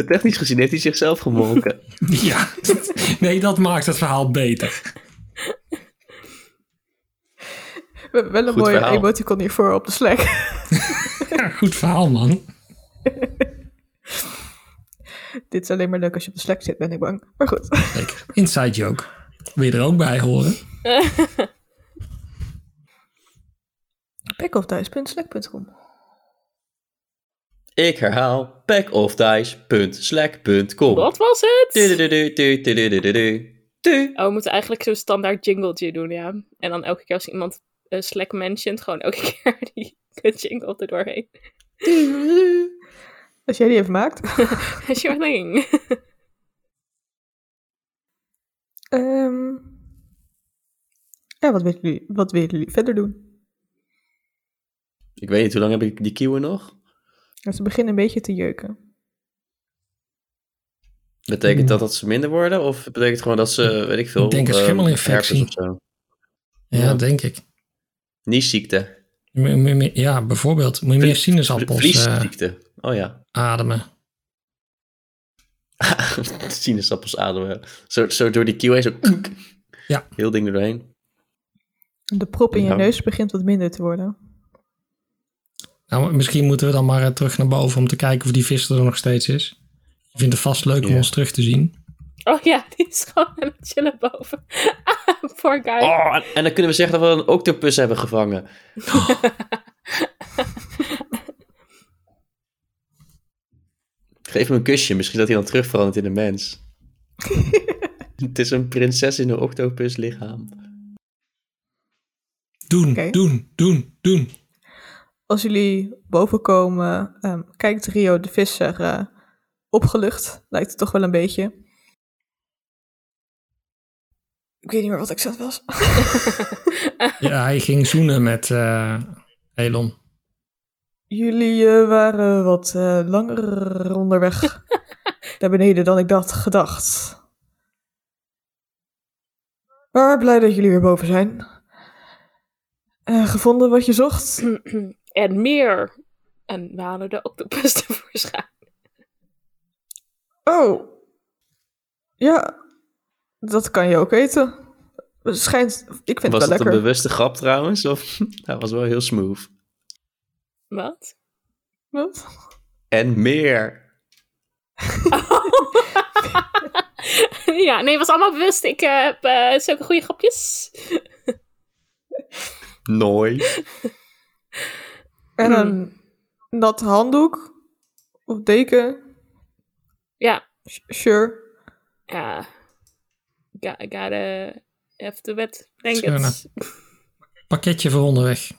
D: Technisch gezien heeft hij zichzelf gemolken.
C: ja, nee, dat maakt het verhaal beter.
A: We hebben wel een
D: Goed
A: mooie
D: verhaal.
A: emoticon hiervoor op de Slack.
C: Ja, goed verhaal, man.
A: Dit is alleen maar leuk als je op de Slack zit, ben ik bang. Maar goed.
C: Zeker. Inside joke. Wil je er ook bij horen?
A: Backofdice.slack.com
D: Ik herhaal packofdice.slack.com.
B: Wat was het?
D: Du-du-du-du-du-du-du-du.
B: Oh, we moeten eigenlijk zo'n standaard jingletje doen, ja. En dan elke keer als iemand eh, Slack mentioned, gewoon elke keer die kut jingle er doorheen.
A: Als jij die even maakt.
B: Sure thing.
A: Ehm, ja, wat willen, jullie, wat willen jullie verder doen?
D: Ik weet niet, hoe lang heb ik die kieuwen nog?
A: Nou, Ze beginnen een beetje te jeuken.
D: Betekent dat dat ze minder worden? Of betekent het gewoon dat ze, weet ik veel...
C: Ik denk een
D: eh,
C: schimmelinfectie.
D: herpes of zo?
C: Ja,
D: Ja.
C: denk ik.
D: Nieziekte.
C: Moet je meer- meer- Ja, bijvoorbeeld. Moet je meer
D: Vlie-
C: sinaasappels eh,
D: Vliesziekte. Oh ja.
C: ademen.
D: Sinaasappels ademen. Zo, zo door die kieuw heen, zo...
C: Ja.
D: Heel ding erdoorheen.
A: De prop in je
D: Nou.
A: neus begint wat minder te worden.
C: Nou, misschien moeten we dan maar eh, terug naar boven om te kijken of die vis er nog steeds is. Ik vind het vast leuk om
D: Ja.
C: ons terug te zien.
B: Oh ja, die is gewoon aan het chillen boven. Ah, Poor guy.
D: Oh, en- en dan kunnen we zeggen dat we een octopus hebben gevangen. Geef hem een kusje, misschien dat hij dan terugverandert in een mens. Het is een prinses in een octopus lichaam.
C: Doen,
A: Oké.
C: doen, doen, doen.
A: Als jullie boven komen, ehm, kijkt Rio de visser eh, opgelucht. Lijkt het toch wel een beetje. Ik weet niet meer wat ik zat was.
C: Ja, hij ging zoenen met eh, Elon.
A: Jullie eh, waren wat eh, langer onderweg naar beneden dan ik dat gedacht. Maar blij dat jullie weer boven zijn. Eh, gevonden wat je zocht?
B: en meer. En we halen de octopus tevoorschijn.
A: Oh. Ja, dat kan je ook eten. Het schijnt, ik vind
D: was dat
A: het wel lekker.
D: een bewuste grap trouwens? Of? Dat was wel heel smooth.
B: Wat?
A: Wat?
D: En meer.
B: ja, nee, het was allemaal bewust. Ik eh, heb eh, zulke goede grapjes.
D: Nooit.
A: En
D: Hmm.
A: een nat handdoek of deken,
B: Ja,
A: S- sure.
B: ja. Ga, gotta have the wet
C: Schöne.
B: blankets.
C: Pakketje voor onderweg.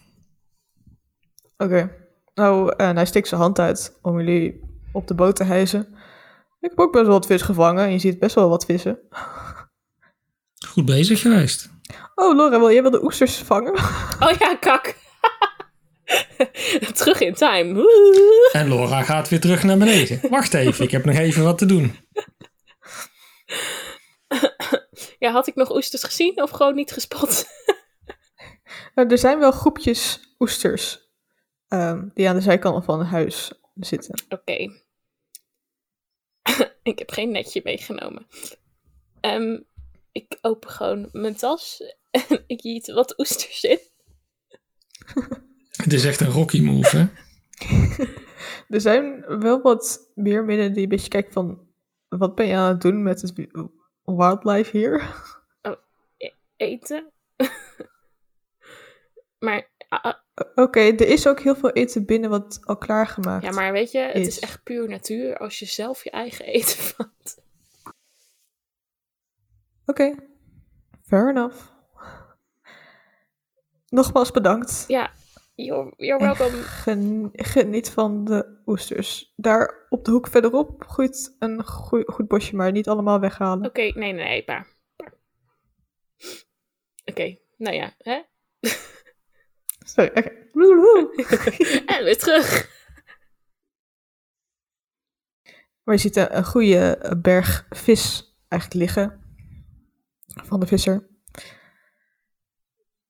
A: Oké. Nou, en hij steekt zijn hand uit om jullie op de boot te hijsen. Ik heb ook best wel wat vis gevangen en je ziet best wel wat vissen.
C: Goed bezig geweest.
A: Oh, Laura, wil jij wel de oesters vangen?
B: Oh ja, kak. Terug in time. Woehoe.
C: En Laura gaat weer terug naar beneden. Wacht even, ik heb nog even wat te doen.
B: Ja, had ik nog oesters gezien of gewoon niet gespot?
A: Nou, er zijn wel groepjes oesters ehm, die aan de zijkanten van een huis zitten.
B: Oké. ik heb geen netje meegenomen. Ehm, ik open gewoon mijn tas en ik giet wat oesters in.
C: Het is echt een Rocky move, hè?
A: Er zijn wel wat meer midden die een beetje kijken van... Wat ben je aan het doen met het wi- wildlife hier?
B: Eten. maar, ah, ah,
A: Oké, er is ook heel veel eten binnen wat al klaargemaakt.
B: ja, maar weet je, het is
A: Is.
B: echt puur natuur als je zelf je eigen eten vat.
A: Oké, fair enough. Nogmaals bedankt.
B: Ja, you're, you're
A: En
B: welcome.
A: gen- geniet van de oesters. Daar op de hoek verderop groeit een goe- goed bosje, maar niet allemaal weghalen.
B: Oké, nee, nee, nee, paar. paar. Oké, nou ja, hè?
A: Sorry, oké. Woehoe.
B: en weer terug.
A: Maar je ziet een, een goede eh, berg vis eigenlijk liggen. Van de visser.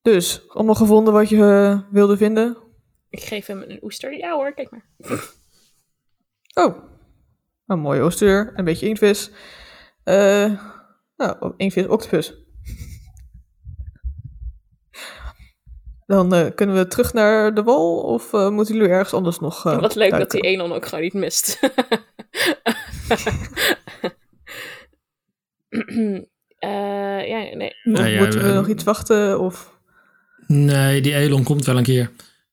A: Dus, allemaal gevonden wat je eh, wilde vinden.
B: Ik geef hem een oester. Ja hoor, kijk maar.
A: Oh, een mooie ooster, een beetje inktvis. Eh, nou, inktvis, octopus. Dan eh, kunnen we terug naar de wal of eh, moeten jullie ergens anders nog. eh,
B: Wat leuk dat
A: duiken?
B: die Enon ook gewoon niet mist. Eh, ja, nee.
A: Of
C: Nee, ja,
A: moeten we
C: we-
A: nog iets wachten? Of...
C: Nee, die Elon komt wel een keer.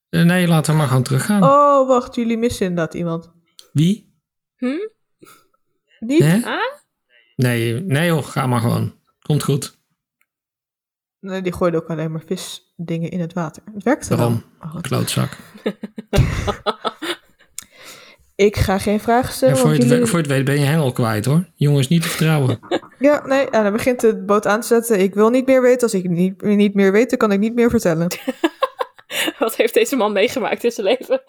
C: Eh, Nee, laten we maar gewoon teruggaan.
A: Oh, wacht, jullie missen inderdaad iemand.
C: Wie?
A: Niet?
C: Hè?
B: Ah?
C: Nee, nee joh, ga maar gewoon. Komt goed.
A: Nee, die gooide ook alleen maar visdingen in het water. Het werkte wel.
C: Daarom.
A: Oh, wat-
C: Klootzak.
A: Ik ga geen vragen
C: En
A: stellen.
C: voor, je
A: want
C: het, we-
A: jullie...
C: voor je het weet ben je hengel kwijt hoor. Jongens, niet te vertrouwen.
A: Ja, nee, en dan begint de boot aan te zetten. Ik wil niet meer weten. Als ik niet, niet meer weet, dan kan ik niet meer vertellen.
B: Wat heeft deze man meegemaakt in zijn leven?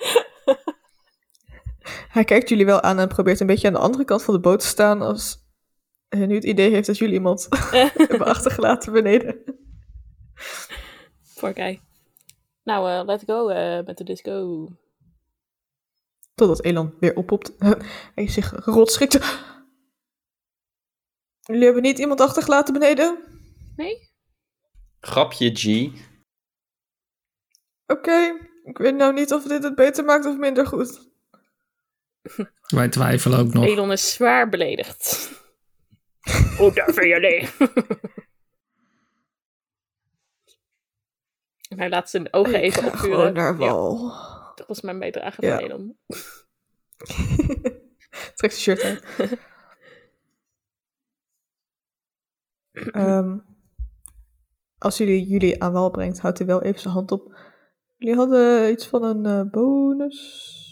A: Hij kijkt jullie wel aan en probeert een beetje aan de andere kant van de boot te staan als hij nu het idee heeft dat jullie iemand hebben achtergelaten beneden.
B: Voor guy. Nou, eh, let's go eh, met de disco.
A: Totdat Elan weer oppopt en zich rot schrikt. Jullie hebben niet iemand achtergelaten beneden?
B: Nee?
D: Grapje, G.
A: Oké, ik weet nou niet of dit het beter maakt of minder goed.
C: Wij twijfelen ook nog.
B: Elon is zwaar beledigd. Hoe durven jullie? En hij laat zijn ogen
A: ik
B: even
A: ga
B: opvuren.
A: gewoon naar
B: Ja,
A: wal.
B: dat was mijn bijdrage
A: Ja.
B: van Elon.
A: Trek zijn shirt uit. Ehm, als jullie jullie aan wal brengt, houdt hij wel even zijn hand op. Jullie hadden iets van een eh, bonus.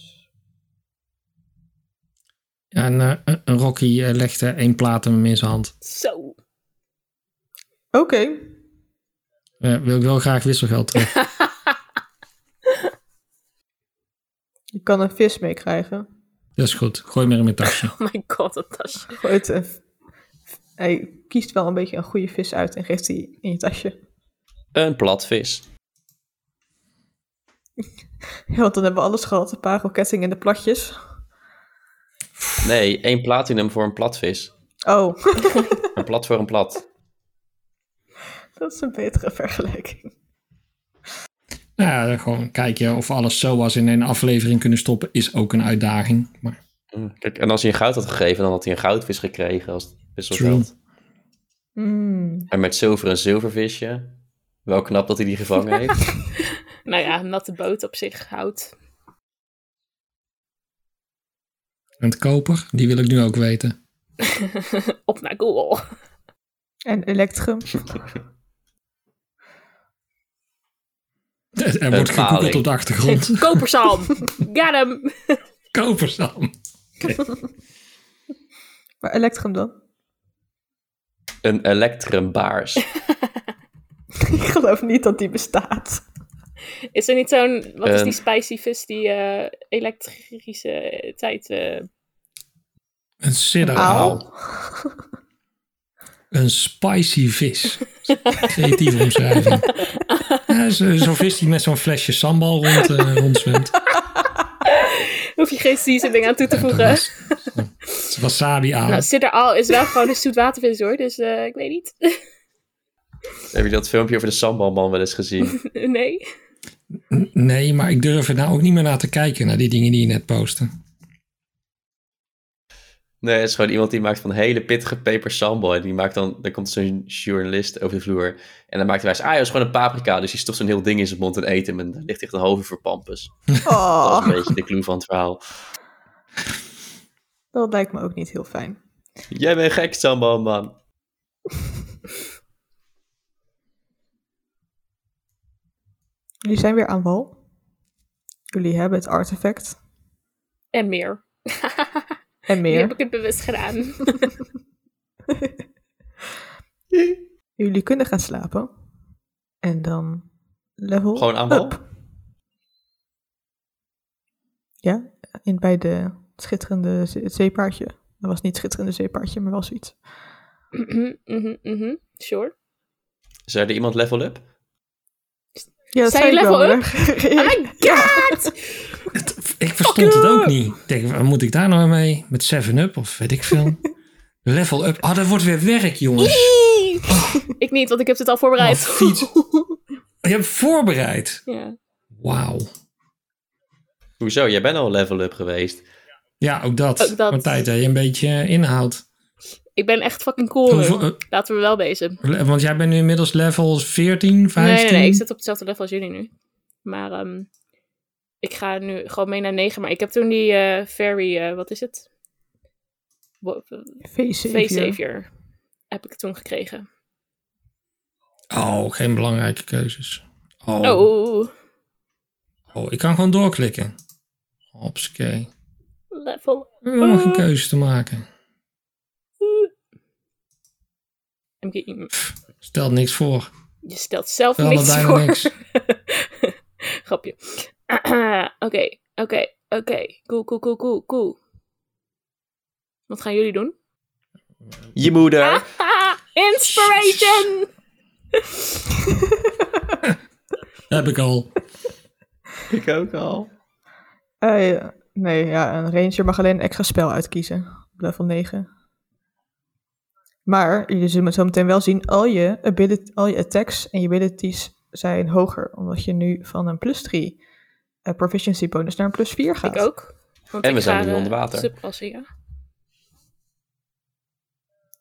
C: En eh, een- een Rocky eh, legde één platinum in zijn hand.
B: Zo.
A: Oké.
C: Eh, wil ik wel graag wisselgeld terug.
A: Je kan een vis meekrijgen.
C: Dat is goed. Gooi maar in mijn tasje.
B: Oh my god, dat tasje.
A: Gooit een v- Hij kiest wel een beetje een goede vis uit en geeft die in je tasje.
D: Een platvis.
A: Ja, want dan hebben we alles gehad. Een paar kettingen en de platjes.
D: Nee, één platinum voor een platvis.
A: Oh,
D: Een plat voor een plat.
A: dat is een betere vergelijking.
C: Nou, ja, gewoon kijken of we alles zo was in één aflevering kunnen stoppen is ook een uitdaging. Maar
D: Mm, Kijk, en als hij een goud had gegeven, dan had hij een goudvis gekregen als het
C: True.
D: wisselgeld.
A: Mm.
D: En met zilver een zilvervisje. Wel knap dat hij die gevangen heeft.
B: Nou ja, natte boot op zich houdt.
C: en het koper, die wil ik nu ook weten.
B: op naar Google.
A: En Electrum.
C: Er er wordt gegoogeld
D: paling.
C: op de achtergrond.
B: Kopersalm. Got hem.
C: Kopersam.
A: Maar Electrum dan?
D: een electrumbaars.
A: Ik geloof niet dat die bestaat.
B: Is er niet zo'n... Wat is
D: Ehm.
B: die spicy vis die eh, elektrische tijd... eh,
C: Een
A: Aal.
C: sidderaal. Een spicy vis. Creatieve omschrijving. Ja, zo- Zo'n vis die met zo'n flesje sambal rond, eh, rondzwemt.
B: Hoef je geen seasoning aan toe te voegen.
C: Dat is Wasabi aan.
B: Nou, Sidder Al is wel gewoon een zoetwatervis hoor, dus eh, ik weet niet.
D: Heb je dat filmpje over de sambalman wel eens gezien?
B: nee.
C: N- Nee, maar ik durf er nou ook niet meer naar te kijken, naar die dingen die je net postte.
D: Nee, het is gewoon iemand die maakt van hele pittige peper sambal. En die maakt dan, dan komt zo'n journalist over de vloer. En dan maakt hij wijs, ah, dat is gewoon een paprika. Dus die stopt zo'n heel ding in zijn mond en eet hem. En dan ligt echt een halve voor pampus. Dat is
A: Oh,
D: een beetje de clue van het verhaal.
A: dat lijkt me ook niet heel fijn.
D: Jij bent gek, sambalman.
A: Jullie zijn weer aan wal. Jullie hebben het artefact
B: En meer.
A: en
B: Nu
A: meer.
B: heb ik het bewust gedaan.
A: Jullie kunnen gaan slapen. En dan level
D: Gewoon aan wal?
A: up. Ja, in, bij de schitterende zee- het zeepaardje. Dat was niet schitterende zeepaardje, maar wel zoiets.
B: Mhm, mhm, mhm. sure.
D: Zou er iemand level up?
A: Ja, dat
B: Zei je
A: zei ik wel,
B: level
A: maar-
B: Oh my god!
C: Het- ik verstond het ook niet. Ik denk, wat moet ik daar nou mee? Met 7-Up of weet ik veel. Level up. Ah, dat wordt weer werk, jongens.
B: ik niet, want ik heb het al
C: Oh,
B: voorbereid.
C: fiets. Je hebt voorbereid.
B: ja.
C: Wauw.
D: Hoezo? Jij bent al level up geweest.
C: Ja, ook dat.
B: Ook dat.
C: Partij dat je een beetje eh, inhoudt.
B: Ik ben echt fucking cool.
C: Hoeveel-
B: nu. Laten we wel wezen.
C: eh, Want jij bent nu inmiddels level 14, 15.
B: Nee, nee, nee. Ik zit op hetzelfde level als jullie nu. Maar ehm, ik ga nu gewoon mee naar 9. Maar ik heb toen die eh, fairy, eh, wat is het? Wo- Face
A: Face
B: Savior. Heb ik toen gekregen.
C: Oh, geen belangrijke keuzes. Oh,
B: Oh,
C: oh. ik kan gewoon doorklikken. Hopsakee.
B: level.
C: We hebben nog een
B: Oh.
C: keuze te maken.
B: I'm getting-
C: Stelt niks voor.
B: Je stelt zelf
C: Wel
B: niks
C: bijna
B: voor.
C: niks.
B: Grapje. Oké, oké, oké. Cool, cool, cool, cool, cool. Wat gaan jullie doen?
D: Je moeder!
B: Ah, inspiration!
C: Heb ik al.
D: Ik ook al.
A: Eh, ja. nee, ja, een ranger mag alleen een extra spel uitkiezen. Op level 9. Maar jullie zullen zo meteen wel zien, al je, ability, al je attacks en je abilities zijn hoger. Omdat je nu van een plus 3 eh, proficiency bonus naar een plus 4 gaat.
B: Ik ook. Want
D: En
B: ik
D: we zijn
B: ga,
D: nu
B: eh,
D: onder water.
B: subklassen, ja.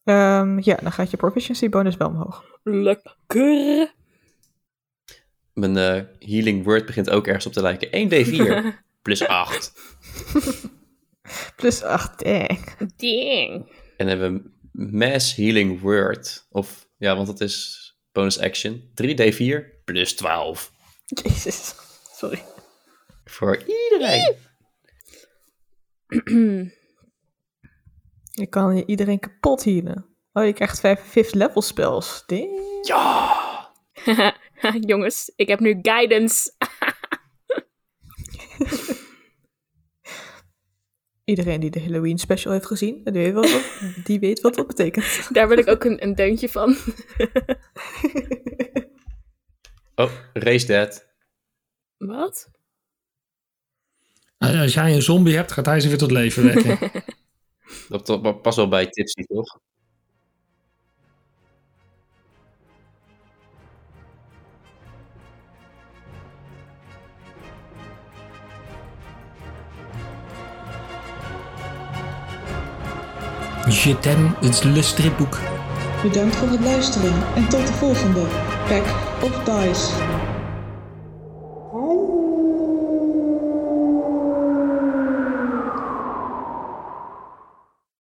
A: Ehm, ja, dan gaat je proficiency bonus wel omhoog.
B: Lekker.
D: Mijn eh, healing word begint ook ergens op te lijken. 1d4 plus 8.
A: Plus 8, eh.
B: Ding.
D: En hebben we mass healing word. Of ja, want dat is bonus action. 3d4 plus 12.
A: Jezus, sorry.
D: Voor iedereen.
A: Je kan hier iedereen kapot healen. Oh, je krijgt 5 fifth level spells. Ding.
B: Jongens, ik heb nu guidance.
A: Iedereen die de Halloween special heeft gezien, die weet wat, die weet wat dat betekent.
B: Daar wil ik ook een, een deuntje van.
D: Oh, race dead.
B: Wat?
C: Als als jij een zombie hebt, gaat hij ze weer tot leven wekken.
D: Dat, dat past wel bij Tipsy, toch?
C: Je t'aime, het is le stripboek.
F: Bedankt voor het luisteren en tot de volgende. Pack of Dice.
G: Hallo.